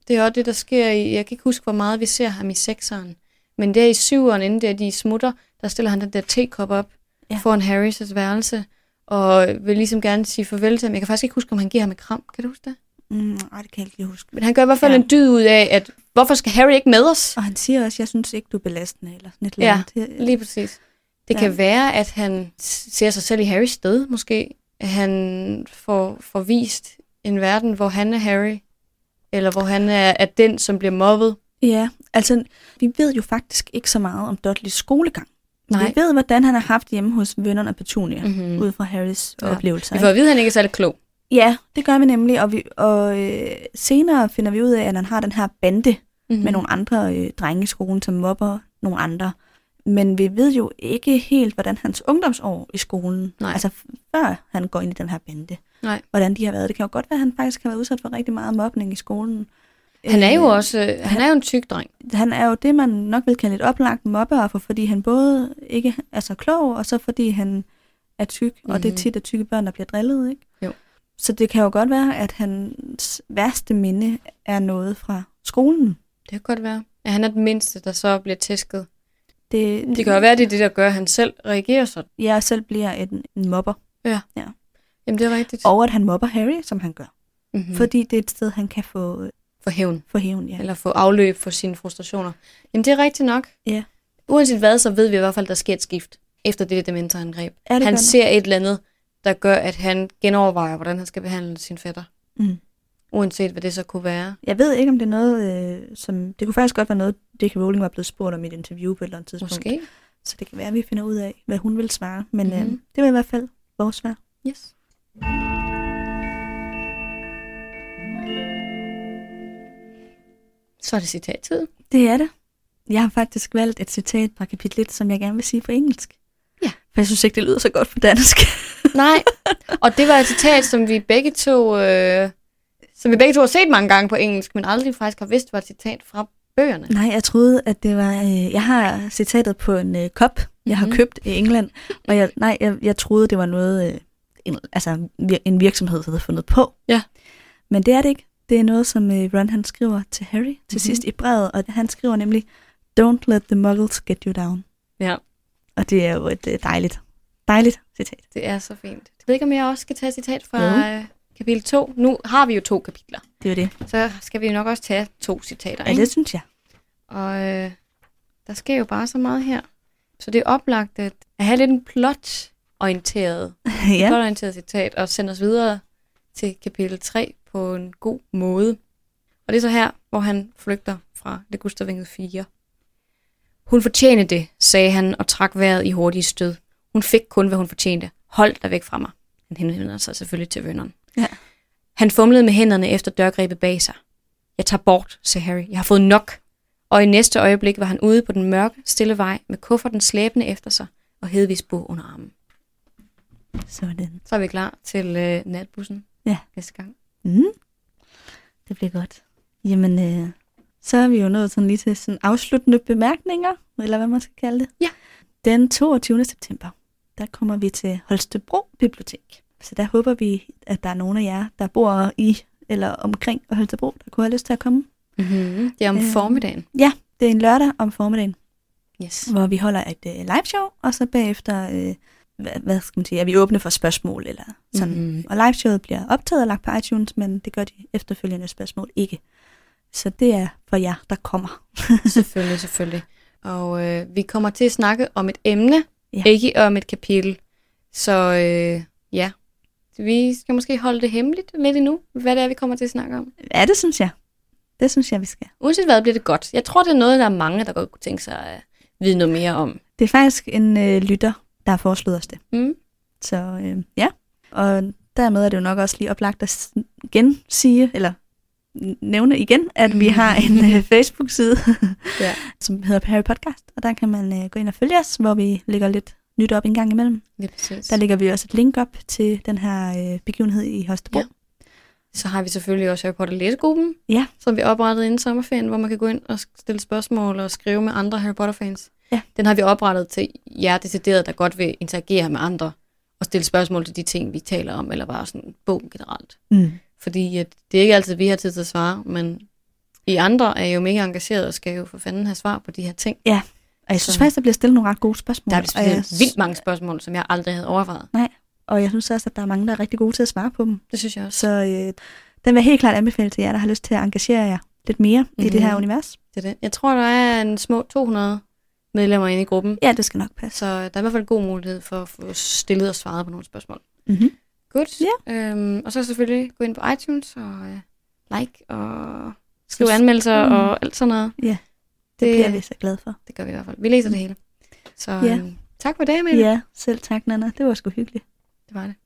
Speaker 1: Det er også det, der sker i, jeg kan ikke huske, hvor meget vi ser ham i sekseren, men der i syveren, inden der de smutter, der stiller han den der tekop op
Speaker 2: Ja.
Speaker 1: ja. foran Harrys værelse, og vil ligesom gerne sige farvel til ham. Jeg kan faktisk ikke huske, om han giver ham et kram. Kan du huske det?
Speaker 2: Mm, ej, det kan jeg ikke lige huske.
Speaker 1: Men han gør i hvert fald
Speaker 2: Ja.
Speaker 1: ja. en dyd ud af, at hvorfor skal Harry ikke med os?
Speaker 2: Og han siger også, jeg synes ikke, du er belastende, eller sådan et
Speaker 1: Ja,
Speaker 2: eller andet. Det-
Speaker 1: Lige præcis. Det
Speaker 2: Ja.
Speaker 1: ja. kan være, at han s- ser sig selv i Harrys sted, måske. At Han får, får vist en verden, hvor han er Harry, eller hvor han er, er den, som bliver mobbet.
Speaker 2: Ja, altså, vi ved jo faktisk ikke så meget om Dudleys skolegang.
Speaker 1: Nej.
Speaker 2: Vi ved, hvordan han har haft hjemme hos vennerne og Petunia, mm.
Speaker 1: Mm-hmm.
Speaker 2: ud fra Harrys ja.
Speaker 1: Ja.
Speaker 2: oplevelser.
Speaker 1: Vi
Speaker 2: ikke?
Speaker 1: får at vide, at han ikke er særlig klog.
Speaker 2: Ja, det gør vi nemlig, og, vi, og øh, senere finder vi ud af, at han har den her bande mm.
Speaker 1: Mm-hmm.
Speaker 2: med nogle andre øh, drenge i skolen, som mobber nogle andre. Men vi ved jo ikke helt, hvordan hans ungdomsår i skolen,
Speaker 1: Nej.
Speaker 2: altså f- før han går ind i den her bande,
Speaker 1: Nej.
Speaker 2: hvordan de har været. Det kan jo godt være, at han faktisk har været udsat for rigtig meget mobning i skolen.
Speaker 1: Han er jo
Speaker 2: Øh,
Speaker 1: også øh, han er jo en tyk dreng.
Speaker 2: han er jo det, man nok vil kalde et oplagt mobbeoffer, fordi han både ikke er så klog, og så fordi han er tyk, mm-hmm. og det er
Speaker 1: Mhm.
Speaker 2: tit, at tykke børn, der bliver drillet, ikke?
Speaker 1: Jo.
Speaker 2: Så det kan jo godt være, at hans værste minde er noget fra skolen.
Speaker 1: Det kan godt være. At han er den mindste, der så bliver tæsket.
Speaker 2: Det,
Speaker 1: Det kan jo være, at det er det, der gør, at han selv reagerer sådan.
Speaker 2: Jeg selv bliver en, en mobber.
Speaker 1: Jamen, det er rigtigt.
Speaker 2: Og at han mobber Harry, som han gør.
Speaker 1: mm-hmm.
Speaker 2: Mm.
Speaker 1: for,
Speaker 2: Fordi det er et sted, han kan få,
Speaker 1: for hævn.
Speaker 2: få hævn. Ja.
Speaker 1: Eller få afløb for sine frustrationer. Jamen, det er rigtigt nok.
Speaker 2: Ja.
Speaker 1: Uanset hvad, så ved vi i hvert fald, at der sker et skift efter det dementorangreb.
Speaker 2: Er det
Speaker 1: Han
Speaker 2: godt nok?
Speaker 1: ser et eller andet, der gør, at han genovervejer, hvordan han skal behandle sin fætter.
Speaker 2: Mm.
Speaker 1: Uanset hvad det så kunne være.
Speaker 2: Jeg ved ikke, om det er noget, øh, som... Det kunne faktisk godt være noget, J.K. Rowling var blevet spurgt om i et interview på et eller andet tidspunkt.
Speaker 1: Måske.
Speaker 2: Så det kan være, at vi finder ud af, hvad hun vil svare. Men mm-hmm. øh,
Speaker 1: Mhm.
Speaker 2: det var i hvert fald vores svar.
Speaker 1: Yes. Så er det citattid.
Speaker 2: Det er det. Jeg har faktisk valgt et citat fra kapitel 1, som jeg gerne vil sige på engelsk.
Speaker 1: Ja.
Speaker 2: For jeg synes ikke, det lyder så godt på dansk.
Speaker 1: Nej, og det var et citat, som vi begge to, øh, som vi begge to har set mange gange på engelsk, men aldrig faktisk har vidst, var et citat fra bøgerne.
Speaker 2: Nej, jeg troede, at det var... Øh, jeg har citatet på en øh, kop, jeg har
Speaker 1: Mhm.
Speaker 2: købt i England. Og jeg, nej, jeg, jeg troede, det var noget, øh, en, altså vir- en virksomhed havde fundet på.
Speaker 1: Ja.
Speaker 2: Men det er det ikke. Det er noget, som øh, Ron han skriver til Harry til mm-hmm.
Speaker 1: Mhm.
Speaker 2: sidst i brevet. Og han skriver nemlig, Don't let the muggles get you down.
Speaker 1: Ja.
Speaker 2: Og det er jo et øh, dejligt, dejligt citat.
Speaker 1: Det er så fint. Jeg ved ikke, om jeg også skal tage et citat fra
Speaker 2: Jo.
Speaker 1: øh, kapitel 2. Nu har vi jo to kapitler,
Speaker 2: Det er jo det.
Speaker 1: så skal vi nok også tage to citater.
Speaker 2: Ja,
Speaker 1: ikke?
Speaker 2: det synes jeg.
Speaker 1: Og øh, der sker jo bare så meget her. Så det er oplagt at at have lidt en plot-orienteret, ja.
Speaker 2: ja.
Speaker 1: plot-orienteret citat og sende os videre til kapitel 3 på en god måde. Og det er så her, hvor han flygter fra det gustavinget 4. Hun fortjente det, sagde han og trak vejret i hurtige stød. Hun fik kun, hvad hun fortjente. Hold dig væk fra mig. Han henvender sig selvfølgelig til Vernon.
Speaker 2: Ja.
Speaker 1: Han fumlede med hænderne efter dørgrebet bag sig. Jeg tager bort, sagde Harry. Jeg har fået nok. Og i næste øjeblik var han ude på den mørke, stille vej med kufferten slæbende efter sig og Hedvigs bog under armen.
Speaker 2: Sådan.
Speaker 1: Så er vi klar til øh, natbussen
Speaker 2: Ja.
Speaker 1: næste gang.
Speaker 2: Mm. Det bliver godt. Jamen, øh, så er vi jo nået sådan lige til sådan afsluttende bemærkninger, eller hvad man skal kalde det.
Speaker 1: Ja.
Speaker 2: Den 22. september, der kommer vi til Holstebro Bibliotek. Så der håber vi, at der er nogen af jer, der bor i eller omkring Holstebro, der kunne have lyst til at komme.
Speaker 1: Mm-hmm. Det er om
Speaker 2: Øh.
Speaker 1: øh. formiddagen.
Speaker 2: Det er en lørdag om formiddagen,
Speaker 1: Yes.
Speaker 2: hvor vi holder et øh, live show, og så bagefter, øh, hvad, hvad skal man sige, er vi åbne for spørgsmål eller sådan
Speaker 1: Mm-hmm.
Speaker 2: Og liveshowet bliver optaget og lagt på iTunes, men det gør de efterfølgende spørgsmål ikke. Så det er for jer, der kommer.
Speaker 1: Selvfølgelig, selvfølgelig. Og øh, vi kommer til at snakke om et emne,
Speaker 2: Ja.
Speaker 1: ja. ikke om et kapitel. Så øh, ja, vi skal måske holde det hemmeligt lidt endnu, hvad det er, vi kommer til at snakke om.
Speaker 2: Ja, det synes jeg. Det synes jeg, vi skal.
Speaker 1: Uanset hvad, bliver det godt. Jeg tror, det er noget, der er mange, der godt kunne tænke sig at vide noget mere om.
Speaker 2: Det er faktisk en øh, lytter, der har foreslået os det.
Speaker 1: Mm?
Speaker 2: Så øh, ja, og dermed er det jo nok også lige oplagt at s- igen sige, eller n- nævne igen, at vi har en øh, Facebook-side,
Speaker 1: Mm. Ja.
Speaker 2: som hedder Harry Podcast, og der kan man øh, gå ind og følge os, hvor vi lægger lidt nyt op en gang imellem.
Speaker 1: Lige præcis.
Speaker 2: Der lægger vi også et link op til den her øh, begivenhed i Holstebro.
Speaker 1: Ja. Så har vi selvfølgelig også Harry Potter læsegruppen,
Speaker 2: Ja.
Speaker 1: som vi oprettede inden sommerferien, hvor man kan gå ind og stille spørgsmål og skrive med andre Harry Potter-fans.
Speaker 2: Ja.
Speaker 1: Den har vi oprettet til jer decideret, der godt vil interagere med andre og stille spørgsmål til de ting, vi taler om, eller bare sådan bogen generelt.
Speaker 2: Mm.
Speaker 1: Fordi at det er ikke altid, vi har tid til at svare, men I andre er jo mega engagerede og skal jo for fanden have svar på de her ting.
Speaker 2: Og jeg synes
Speaker 1: Så-
Speaker 2: faktisk, der bliver stillet nogle ret gode spørgsmål.
Speaker 1: Der er
Speaker 2: og jeg,
Speaker 1: specielt vildt mange spørgsmål, som jeg aldrig havde overvejet.
Speaker 2: og jeg synes også, at der er mange, der er rigtig gode til at svare på dem.
Speaker 1: Det synes jeg også.
Speaker 2: Så øh, den vil jeg helt klart anbefale til jer, der har lyst til at engagere jer lidt mere mm-hmm. i det
Speaker 1: Mhm.
Speaker 2: her univers.
Speaker 1: Det er det. Jeg tror, der er en små 200 medlemmer inde i gruppen.
Speaker 2: Ja, det skal nok passe.
Speaker 1: Så der er i hvert fald en god mulighed for at få stillet og svaret på nogle spørgsmål.
Speaker 2: Mm-hmm.
Speaker 1: Godt.
Speaker 2: Ja.
Speaker 1: Øhm, og så selvfølgelig gå ind på iTunes og øh, like og skrive
Speaker 2: Subs-
Speaker 1: anmeldelser
Speaker 2: Mm.
Speaker 1: mm. og alt sådan noget.
Speaker 2: Ja. Det
Speaker 1: Det,
Speaker 2: bliver vi
Speaker 1: det,
Speaker 2: så glade for.
Speaker 1: det gør vi i hvert fald. Vi læser det hele. Så
Speaker 2: Ja.
Speaker 1: øhm, tak for det, Mette.
Speaker 2: Ja, selv tak, Nana. Det var sgu hyggeligt.
Speaker 1: Det var det.